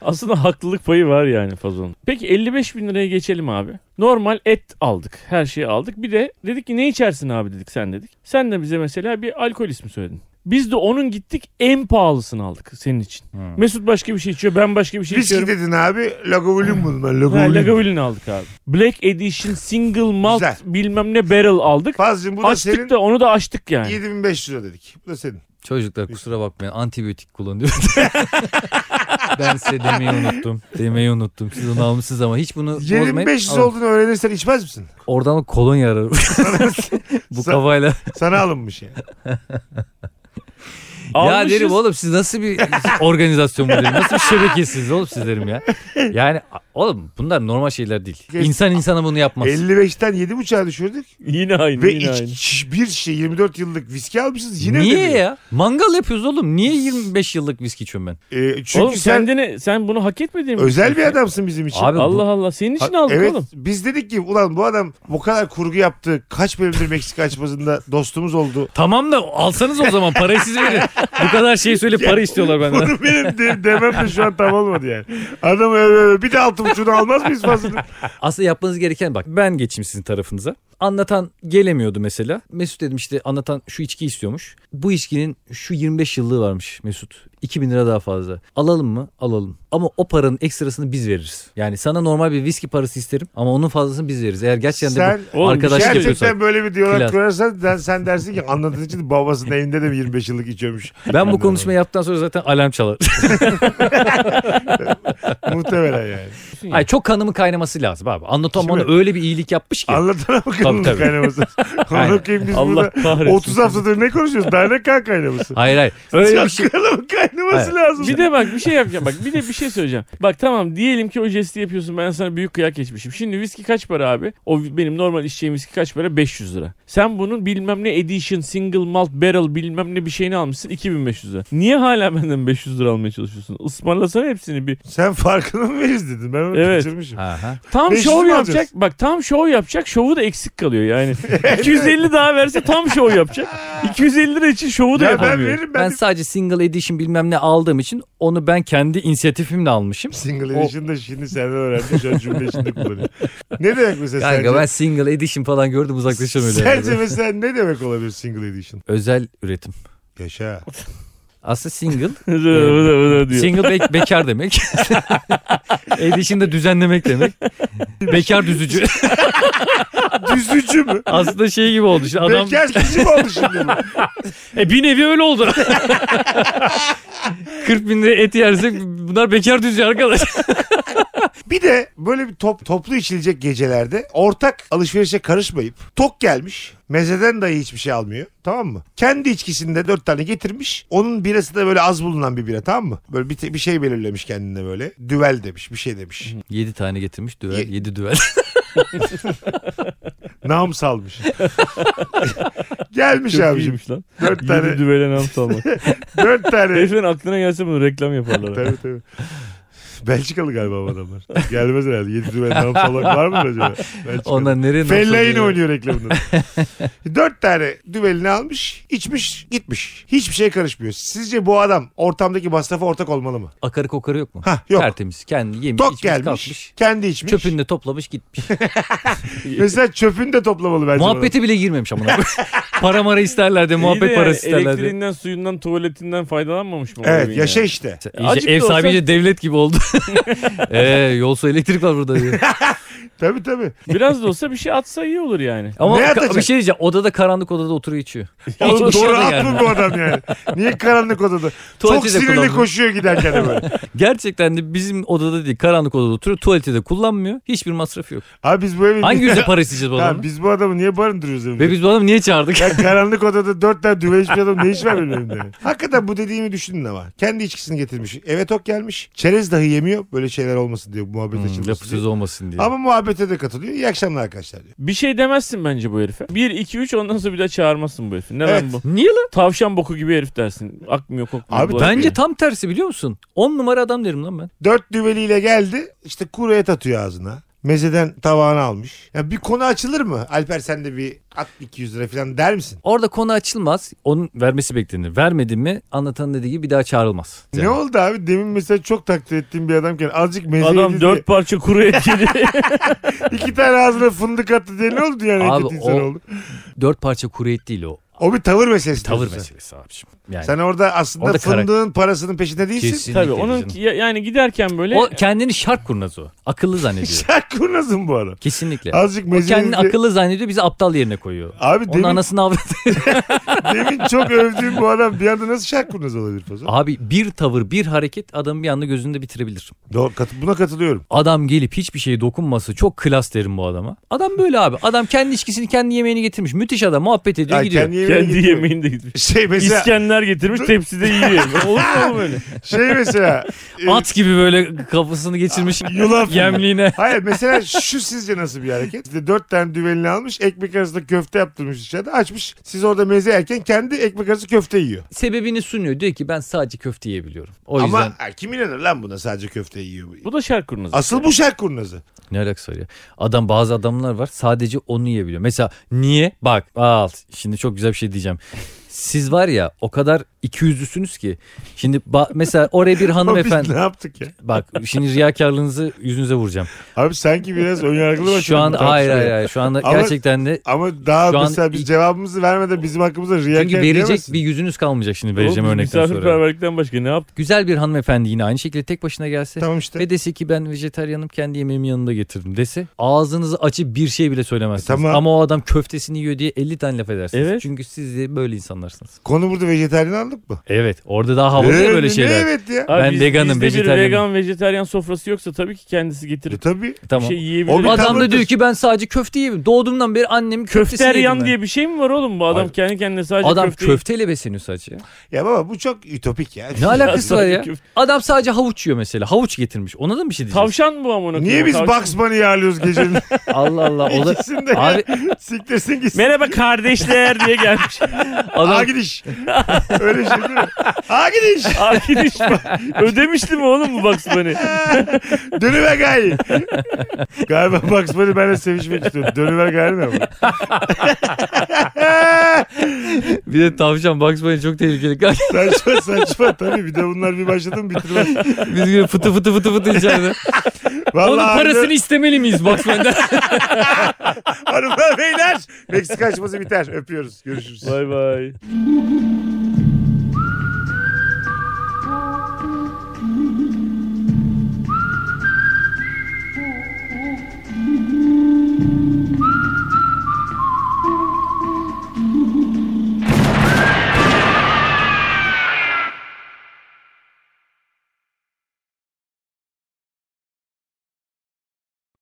Speaker 3: Aslında haklılık payı var yani fazonun. Peki 55 bin liraya geçelim abi. Normal et aldık. Her şeyi aldık. Bir de dedik ki ne içersin abi dedik sen dedik. Sen de bize mesela bir alkol ismi söyledin. Biz de onun gittik en pahalısını aldık senin için. Mesut başka bir şey içiyor ben başka bir şey
Speaker 1: Viski
Speaker 3: içiyorum.
Speaker 1: dedin abi.
Speaker 3: [laughs]
Speaker 1: Lagavulin bunun ben
Speaker 3: Ha,
Speaker 1: Lagavulin.
Speaker 3: Lagavulin aldık abi. Black Edition Single Malt
Speaker 1: Güzel.
Speaker 3: bilmem ne Barrel aldık.
Speaker 1: Fazlım bu da
Speaker 3: Açtık
Speaker 1: senin
Speaker 3: da onu da açtık yani.
Speaker 1: 7500 lira dedik. Bu da senin.
Speaker 2: Çocuklar kusura bakmayın antibiyotik kullanıyorum. [laughs] ben size demeyi unuttum. Demeyi unuttum. Siz onu almışsınız ama hiç bunu bozmayın.
Speaker 1: 7500
Speaker 2: Alın.
Speaker 1: olduğunu öğrenirsen içmez misin?
Speaker 2: Oradan kolonya [laughs] ararım. Bu
Speaker 1: Sa-
Speaker 2: kafayla.
Speaker 1: Sana alınmış yani.
Speaker 2: Ya derim oğlum siz nasıl bir organizasyon bu derim. Nasıl bir şebekesiniz oğlum siz derim ya. Yani a- oğlum bunlar normal şeyler değil. İnsan insana bunu yapmaz.
Speaker 1: 55'ten 7.5'a düşürdük.
Speaker 3: Yine aynı
Speaker 1: Ve
Speaker 3: yine
Speaker 1: iç-
Speaker 3: aynı.
Speaker 1: iç- bir şey 24 yıllık viski almışız yine
Speaker 2: Niye
Speaker 1: ödemiyor.
Speaker 2: ya? Mangal yapıyoruz oğlum. Niye 25 yıllık viski içiyorum ben?
Speaker 1: Ee, çünkü
Speaker 3: oğlum
Speaker 1: sen
Speaker 3: kendini sen bunu hak etmediğin şey.
Speaker 1: özel bir adamsın bizim için.
Speaker 2: Abi bu-
Speaker 3: Allah Allah senin için aldık
Speaker 1: Evet
Speaker 3: oğlum.
Speaker 1: biz dedik ki ulan bu adam bu kadar kurgu yaptı. Kaç bölümdür Meksika açmasında dostumuz
Speaker 2: [laughs]
Speaker 1: oldu.
Speaker 2: Tamam da alsanız o zaman parayı siz verin. Bu kadar şey söyle para istiyorlar benden.
Speaker 1: Bunu benim de, demem de şu an tam olmadı yani. Adam öyle öyle bir de altı buçuğunu almaz mıyız
Speaker 2: [laughs]
Speaker 1: fazla?
Speaker 2: Aslında yapmanız gereken bak ben geçeyim sizin tarafınıza. Anlatan gelemiyordu mesela. Mesut dedim işte anlatan şu içki istiyormuş. Bu içkinin şu 25 yıllığı varmış Mesut. 2000 lira daha fazla. Alalım mı? Alalım. Ama o paranın ekstrasını biz veririz. Yani sana normal bir viski parası isterim ama onun fazlasını biz veririz. Eğer gerçekten de
Speaker 1: Sen
Speaker 2: bu
Speaker 3: Oğlum,
Speaker 2: arkadaşlık
Speaker 3: gerçekten
Speaker 2: yapıyorsan.
Speaker 1: gerçekten böyle bir diyalog
Speaker 2: Klas.
Speaker 1: kurarsan sen, sen dersin ki anlatan için babasının evinde de mi 25 yıllık içiyormuş.
Speaker 2: Ben bu konuşmayı yaptıktan sonra zaten alarm çalar.
Speaker 1: Muhtemelen yani.
Speaker 2: Ay çok kanımın kaynaması lazım abi. Anlatan
Speaker 1: Şimdi-
Speaker 2: bana öyle bir iyilik yapmış ki.
Speaker 1: Anlatana mı
Speaker 2: Tabii,
Speaker 1: Bunun
Speaker 2: tabii.
Speaker 1: kaynaması.
Speaker 2: [laughs] Aynen.
Speaker 1: Bakayım biz
Speaker 3: Allah
Speaker 1: burada
Speaker 3: kahretsin.
Speaker 1: 30 haftadır ne konuşuyoruz? Dernek kan kaynaması.
Speaker 2: Hayır hayır. [laughs] Öyle bir şey.
Speaker 1: Çakalın kaynaması
Speaker 2: Hayır.
Speaker 1: lazım.
Speaker 3: Bir de bak bir şey yapacağım. Bak bir de bir şey söyleyeceğim. Bak tamam diyelim ki o jesti yapıyorsun. Ben sana büyük kıyak geçmişim. Şimdi viski kaç para abi? O benim normal içeceğim viski kaç para? 500 lira. Sen bunun bilmem ne edition, single malt, barrel bilmem ne bir şeyini almışsın 2500 lira. Niye hala benden 500 lira almaya çalışıyorsun? Ismarlasana hepsini bir.
Speaker 1: Sen farkını mı veririz dedin. Ben onu
Speaker 3: Evet.
Speaker 1: kaçırmışım.
Speaker 2: Aha.
Speaker 3: Tam
Speaker 1: 500
Speaker 3: şov
Speaker 1: mi
Speaker 3: yapacak.
Speaker 1: alacağız?
Speaker 3: Bak tam şov yapacak. Şovu da eksik kalıyor
Speaker 1: [laughs]
Speaker 3: yani. 250 daha verse tam şov yapacak. 250 lira için şovu da
Speaker 1: Ya ben
Speaker 3: [laughs] yapamıyor.
Speaker 1: veririm ben.
Speaker 2: Ben sadece single edition bilmem ne aldığım için onu ben kendi inisiyatifimle almışım.
Speaker 1: Single edition da şimdi senden öğrendim. Şu an cümle içinde kullanıyorum. Ne demek mesela
Speaker 2: Kanka
Speaker 1: sence?
Speaker 2: [laughs] ben single edition falan gördüm uzaklaşamıyorum.
Speaker 1: Sence mesela ne demek olabilir single edition?
Speaker 2: Özel üretim.
Speaker 1: Yaşa.
Speaker 2: [laughs] Aslında single.
Speaker 3: Vıdı vıdı vıdı diyor.
Speaker 2: single
Speaker 1: [laughs]
Speaker 2: be- bekar demek. edition de düzenlemek demek.
Speaker 1: [laughs]
Speaker 2: Bekar düzücü.
Speaker 1: Düzücü mü?
Speaker 2: Aslında şey gibi oldu. Işte, adam
Speaker 1: Bekar kişi mi oldu şimdi? bu?
Speaker 2: E bir nevi öyle oldu. 40 bin lira et yersek bunlar bekar düzüyor arkadaş.
Speaker 1: Bir de böyle bir top, toplu içilecek gecelerde ortak alışverişe karışmayıp tok gelmiş. Mezeden dahi hiçbir şey almıyor. Tamam mı? Kendi içkisinde dört tane getirmiş. Onun birası da böyle az bulunan bir bira tamam mı? Böyle bir, te- bir şey belirlemiş kendine böyle. Düvel demiş bir şey demiş.
Speaker 2: 7 tane getirmiş düvel.
Speaker 1: Ye-
Speaker 2: 7 düvel.
Speaker 1: Nam salmış. gelmiş
Speaker 3: Çok
Speaker 1: abicim.
Speaker 3: iyiymiş lan.
Speaker 1: Dört
Speaker 3: Yedi
Speaker 1: tane.
Speaker 3: düvele nam
Speaker 1: [laughs]
Speaker 3: salmak.
Speaker 1: dört
Speaker 3: [laughs]
Speaker 1: tane.
Speaker 3: Heriflerin aklına gelse bunu reklam yaparlar.
Speaker 1: tabii tabii. Belçikalı galiba bu adamlar. Gelmez herhalde. Yedi düvel nam falan var mı acaba? Belçikalı.
Speaker 2: Onlar nereye nasıl
Speaker 1: Fellaini
Speaker 2: oluyor?
Speaker 1: oynuyor
Speaker 2: [laughs]
Speaker 1: reklamında. Dört tane düvelini almış, içmiş, gitmiş. Hiçbir şey karışmıyor. Sizce bu adam ortamdaki masrafa ortak olmalı mı?
Speaker 2: Akarı kokarı yok mu?
Speaker 1: Hah yok.
Speaker 2: Tertemiz. Kendi yemiş,
Speaker 1: Tok
Speaker 2: içmiş,
Speaker 1: gelmiş.
Speaker 2: kalkmış.
Speaker 1: Kendi içmiş.
Speaker 2: Çöpünü de toplamış gitmiş.
Speaker 1: Mesela çöpünü de toplamalı bence.
Speaker 2: Muhabbete bile girmemiş
Speaker 1: [laughs]
Speaker 2: amına. koyayım. para mara isterler de
Speaker 3: İyi de
Speaker 2: muhabbet
Speaker 3: yani
Speaker 2: parası isterler de.
Speaker 3: Elektriğinden, suyundan, tuvaletinden faydalanmamış mı?
Speaker 1: bu
Speaker 3: bu
Speaker 1: adam.
Speaker 3: evin
Speaker 1: Evet şey- yaşa
Speaker 3: yani?
Speaker 1: işte.
Speaker 2: İyice
Speaker 3: Azıcık da
Speaker 2: ev
Speaker 3: olsa-
Speaker 2: sahibi iyice devlet
Speaker 1: [laughs]
Speaker 2: gibi oldu. Eee yolsa elektrik var burada diye.
Speaker 1: Tabii
Speaker 2: [laughs]
Speaker 1: tabii.
Speaker 3: Biraz da olsa bir şey atsa iyi olur yani.
Speaker 2: Ama
Speaker 1: Ne
Speaker 2: ka-
Speaker 1: atacak?
Speaker 2: bir şey diyeceğim. Odada karanlık odada
Speaker 1: [laughs]
Speaker 2: oturuyor içiyor.
Speaker 1: Oğlum
Speaker 2: Hiçbir şey
Speaker 1: doğru
Speaker 2: de
Speaker 1: at mı
Speaker 2: gelmiyor.
Speaker 1: bu adam yani? Niye karanlık odada? Çok
Speaker 2: Tuvaleti de
Speaker 1: sinirli
Speaker 2: kullanmıyor.
Speaker 1: koşuyor giderken de böyle.
Speaker 2: [laughs] Gerçekten de bizim odada değil karanlık odada oturuyor. Tuvaleti de kullanmıyor. Hiçbir masrafı yok.
Speaker 1: Abi biz bu evi...
Speaker 2: Hangi yüzle para isteyeceğiz bu
Speaker 1: [laughs] Tamam,
Speaker 2: adamı?
Speaker 1: biz bu adamı niye barındırıyoruz evimizde?
Speaker 2: Ve biz bu adamı niye çağırdık? [laughs]
Speaker 1: Ya karanlık odada dört tane düve içmiş adam ne iş var benim elimde? Hakikaten bu dediğimi düşündün ama. Kendi içkisini getirmiş. Eve tok gelmiş. Çerez dahi yemiyor. Böyle şeyler olmasın diye bu muhabbet
Speaker 2: Hmm, lafı
Speaker 1: açılmasın diye.
Speaker 2: söz olmasın diye.
Speaker 1: Ama muhabbete de katılıyor. İyi akşamlar arkadaşlar diyor.
Speaker 3: Bir şey demezsin bence bu herife. 1, 2, 3 ondan sonra bir daha çağırmazsın bu herifi. Ne
Speaker 1: Evet.
Speaker 3: lan bu?
Speaker 2: Niye lan?
Speaker 3: Tavşan boku gibi herif dersin. Akmıyor kokmuyor.
Speaker 1: Abi
Speaker 3: bu
Speaker 1: ben-
Speaker 2: Bence tam tersi biliyor musun? 10 numara adam derim lan ben.
Speaker 1: Dört düveliyle geldi. İşte kuru et atıyor ağzına. Mezeden tabağını almış. Ya bir konu açılır mı? Alper sen de bir at 200 lira falan der misin?
Speaker 2: Orada konu açılmaz. Onun vermesi beklenir. Vermedi mi anlatan dediği gibi bir daha çağrılmaz.
Speaker 1: Ne oldu abi? Demin mesela çok takdir ettiğim bir adamken azıcık meze
Speaker 3: Adam
Speaker 1: yedi
Speaker 3: dört parça kuru et yedi.
Speaker 1: diye iki tane ağzına fındık attı diye ne oldu yani?
Speaker 2: Abi
Speaker 1: Abi, insan
Speaker 2: o-
Speaker 1: oldu.
Speaker 2: Dört parça kuru et değil o.
Speaker 1: O bir tavır meselesi.
Speaker 2: Tavır
Speaker 1: diyorsun sen.
Speaker 2: meselesi abiciğim. Yani
Speaker 1: Sen orada aslında
Speaker 2: Orada karak-
Speaker 1: fındığın parasının peşinde değilsin. [laughs]
Speaker 2: kesinlikle.
Speaker 3: Tabii onun
Speaker 2: canım.
Speaker 3: ya- yani giderken böyle
Speaker 2: O kendini şark kurnaz o.
Speaker 1: [laughs]
Speaker 2: Akıllı zannediyor.
Speaker 1: Sen kurnazın bu ara.
Speaker 2: Kesinlikle.
Speaker 1: Azıcık
Speaker 2: O kendini
Speaker 1: mezeyi...
Speaker 2: akıllı zannediyor bizi aptal yerine koyuyor.
Speaker 1: Abi
Speaker 2: Onun
Speaker 1: demin,
Speaker 2: anasını avrat.
Speaker 1: [laughs]
Speaker 2: [laughs]
Speaker 1: demin çok övdüğüm bu adam bir anda nasıl şark kurnaz olabilir Fazıl?
Speaker 2: Abi bir tavır bir hareket adamı bir anda gözünde bitirebilir.
Speaker 1: Doğru, kat- buna katılıyorum.
Speaker 2: Adam gelip hiçbir şeye dokunması çok klas derim bu adama. Adam böyle abi. Adam kendi içkisini kendi yemeğini getirmiş. Müthiş adam muhabbet ediyor
Speaker 1: Ay,
Speaker 2: gidiyor.
Speaker 1: kendi yemeğine
Speaker 3: kendi
Speaker 1: gitmiyor.
Speaker 3: yemeğini de gitmiş.
Speaker 1: Şey mesela,
Speaker 3: İskender getirmiş tepside
Speaker 1: [laughs]
Speaker 3: yiyor. Olur mu oğlum öyle?
Speaker 1: şey
Speaker 2: [laughs]
Speaker 1: mesela. e,
Speaker 2: At gibi böyle
Speaker 1: [laughs]
Speaker 2: kafasını geçirmiş
Speaker 1: Yulaf.
Speaker 2: yemliğine.
Speaker 1: Hayır mesela şu sizce nasıl bir hareket? İşte dört tane düvelini almış ekmek arasında köfte yaptırmış içeride açmış. Siz orada meze yerken kendi ekmek arası köfte yiyor.
Speaker 2: Sebebini sunuyor. Diyor ki ben sadece köfte yiyebiliyorum. O
Speaker 1: Ama
Speaker 2: yüzden
Speaker 1: ay, kim inanır lan buna sadece köfte yiyor. Bu...
Speaker 3: Bu da şark kurnazı.
Speaker 1: Asıl bu şark kurnazı.
Speaker 2: ne alakası var ya? Adam bazı adamlar var sadece onu yiyebiliyor. Mesela niye? Bak al şimdi çok güzel bir şey diyeceğim. Siz var ya o kadar iki yüzlüsünüz ki. Şimdi ba- mesela
Speaker 1: [laughs]
Speaker 2: oraya bir
Speaker 1: Ama biz
Speaker 2: hanımefendi.
Speaker 1: ne yaptık ya?
Speaker 2: Bak şimdi riyakarlığınızı yüzünüze vuracağım.
Speaker 1: Abi sanki biraz önyargılı başladık.
Speaker 2: Şu an
Speaker 1: bu tartışmaya.
Speaker 2: hayır hayır hayır. Şu anda
Speaker 1: Ama-
Speaker 2: gerçekten de
Speaker 1: Ama daha
Speaker 2: Şu an-
Speaker 1: mesela biz cevabımızı vermeden bizim hakkımızda riyakar
Speaker 2: çünkü verecek
Speaker 1: diyemezsin.
Speaker 2: bir yüzünüz kalmayacak şimdi
Speaker 3: Oğlum
Speaker 2: vereceğim
Speaker 3: biz
Speaker 2: örnekten sonra.
Speaker 3: Misafirperverlikten başka ne yaptık?
Speaker 2: Güzel bir hanımefendi yine aynı şekilde tek başına gelse
Speaker 1: Tamam işte.
Speaker 2: şey. ve dese ki ben vejetaryenim kendi yemeğimi yanında getirdim dese ağzınızı açıp bir şey bile söylemezsiniz.
Speaker 1: E tamam.
Speaker 2: Ama o adam köftesini yiyor diye 50 tane laf edersiniz.
Speaker 3: Evet.
Speaker 2: Çünkü siz de böyle insanlar. anlarsınız.
Speaker 1: Konu burada vejetaryen aldık mı?
Speaker 2: Evet orada daha havalı ya
Speaker 1: Ee,
Speaker 2: böyle
Speaker 1: ne
Speaker 2: şeyler.
Speaker 1: Evet ya.
Speaker 3: Abi
Speaker 2: Ben
Speaker 3: biz-
Speaker 2: veganım,
Speaker 3: bizde
Speaker 2: vejetaryenim.
Speaker 3: bir vegan vejetaryen sofrası yoksa tabii ki kendisi
Speaker 1: E
Speaker 3: getirip
Speaker 1: tabii.
Speaker 2: Tamam.
Speaker 3: bir şey
Speaker 1: O bir
Speaker 3: yiyebilir.
Speaker 2: Adam da
Speaker 1: tavırdır.
Speaker 2: diyor ki ben sadece köfte yiyeyim. Doğduğumdan beri annem köftesini yedim
Speaker 3: Köfteryan
Speaker 2: ben.
Speaker 3: diye bir şey mi var oğlum bu adam
Speaker 2: Hayır.
Speaker 3: kendi kendine sadece
Speaker 2: Adam
Speaker 3: köfte yiyor.
Speaker 2: köfteyle besleniyor sadece. ya.
Speaker 1: Ya baba bu çok ütopik ya.
Speaker 2: Ne alakası var
Speaker 3: Sadece
Speaker 2: ya?
Speaker 3: köfte.
Speaker 2: Adam sadece havuç yiyor mesela. Havuç getirmiş. Ona da mı bir şey diyeceğiz?
Speaker 3: Tavşan bu amına
Speaker 1: Niye
Speaker 3: koyayım,
Speaker 1: biz
Speaker 3: tavşan.
Speaker 1: Bugs Bunny'i ağırlıyoruz
Speaker 2: [laughs]
Speaker 1: gecenin
Speaker 2: Allah Allah.
Speaker 1: [laughs]
Speaker 2: O da...
Speaker 1: ikisinde? ya?
Speaker 2: Abi
Speaker 1: Siktirsin gitsin.
Speaker 3: Merhaba kardeşler diye
Speaker 1: [laughs]
Speaker 3: gelmiş.
Speaker 1: Adam...
Speaker 2: adam
Speaker 1: gidiş. [laughs] Öyle şey değil mi? Ağa gidiş.
Speaker 3: Arkadaş bak, ödemişti mi oğlum bu Bugs Bunny?
Speaker 1: Dönüver gayi. Galiba Bugs Bunny benimle sevişmek istiyor. Dönüver gayi ne bu?
Speaker 2: bir de tavşan Bugs Bunny çok tehlikeli. [laughs] Kanka,
Speaker 1: Saçma saçma tabii. Bir de bunlar bir başladı mı bitirmez.
Speaker 2: Biz gibi fıtı fıtı fıtı fıtı içeride.
Speaker 1: Vallahi
Speaker 2: Onun parasını
Speaker 1: harbiden-
Speaker 2: istemeli miyiz Bugs Bunny'den?
Speaker 1: Hanımlar beyler. Meksika açması biter. Öpüyoruz. Görüşürüz.
Speaker 3: Bay bay.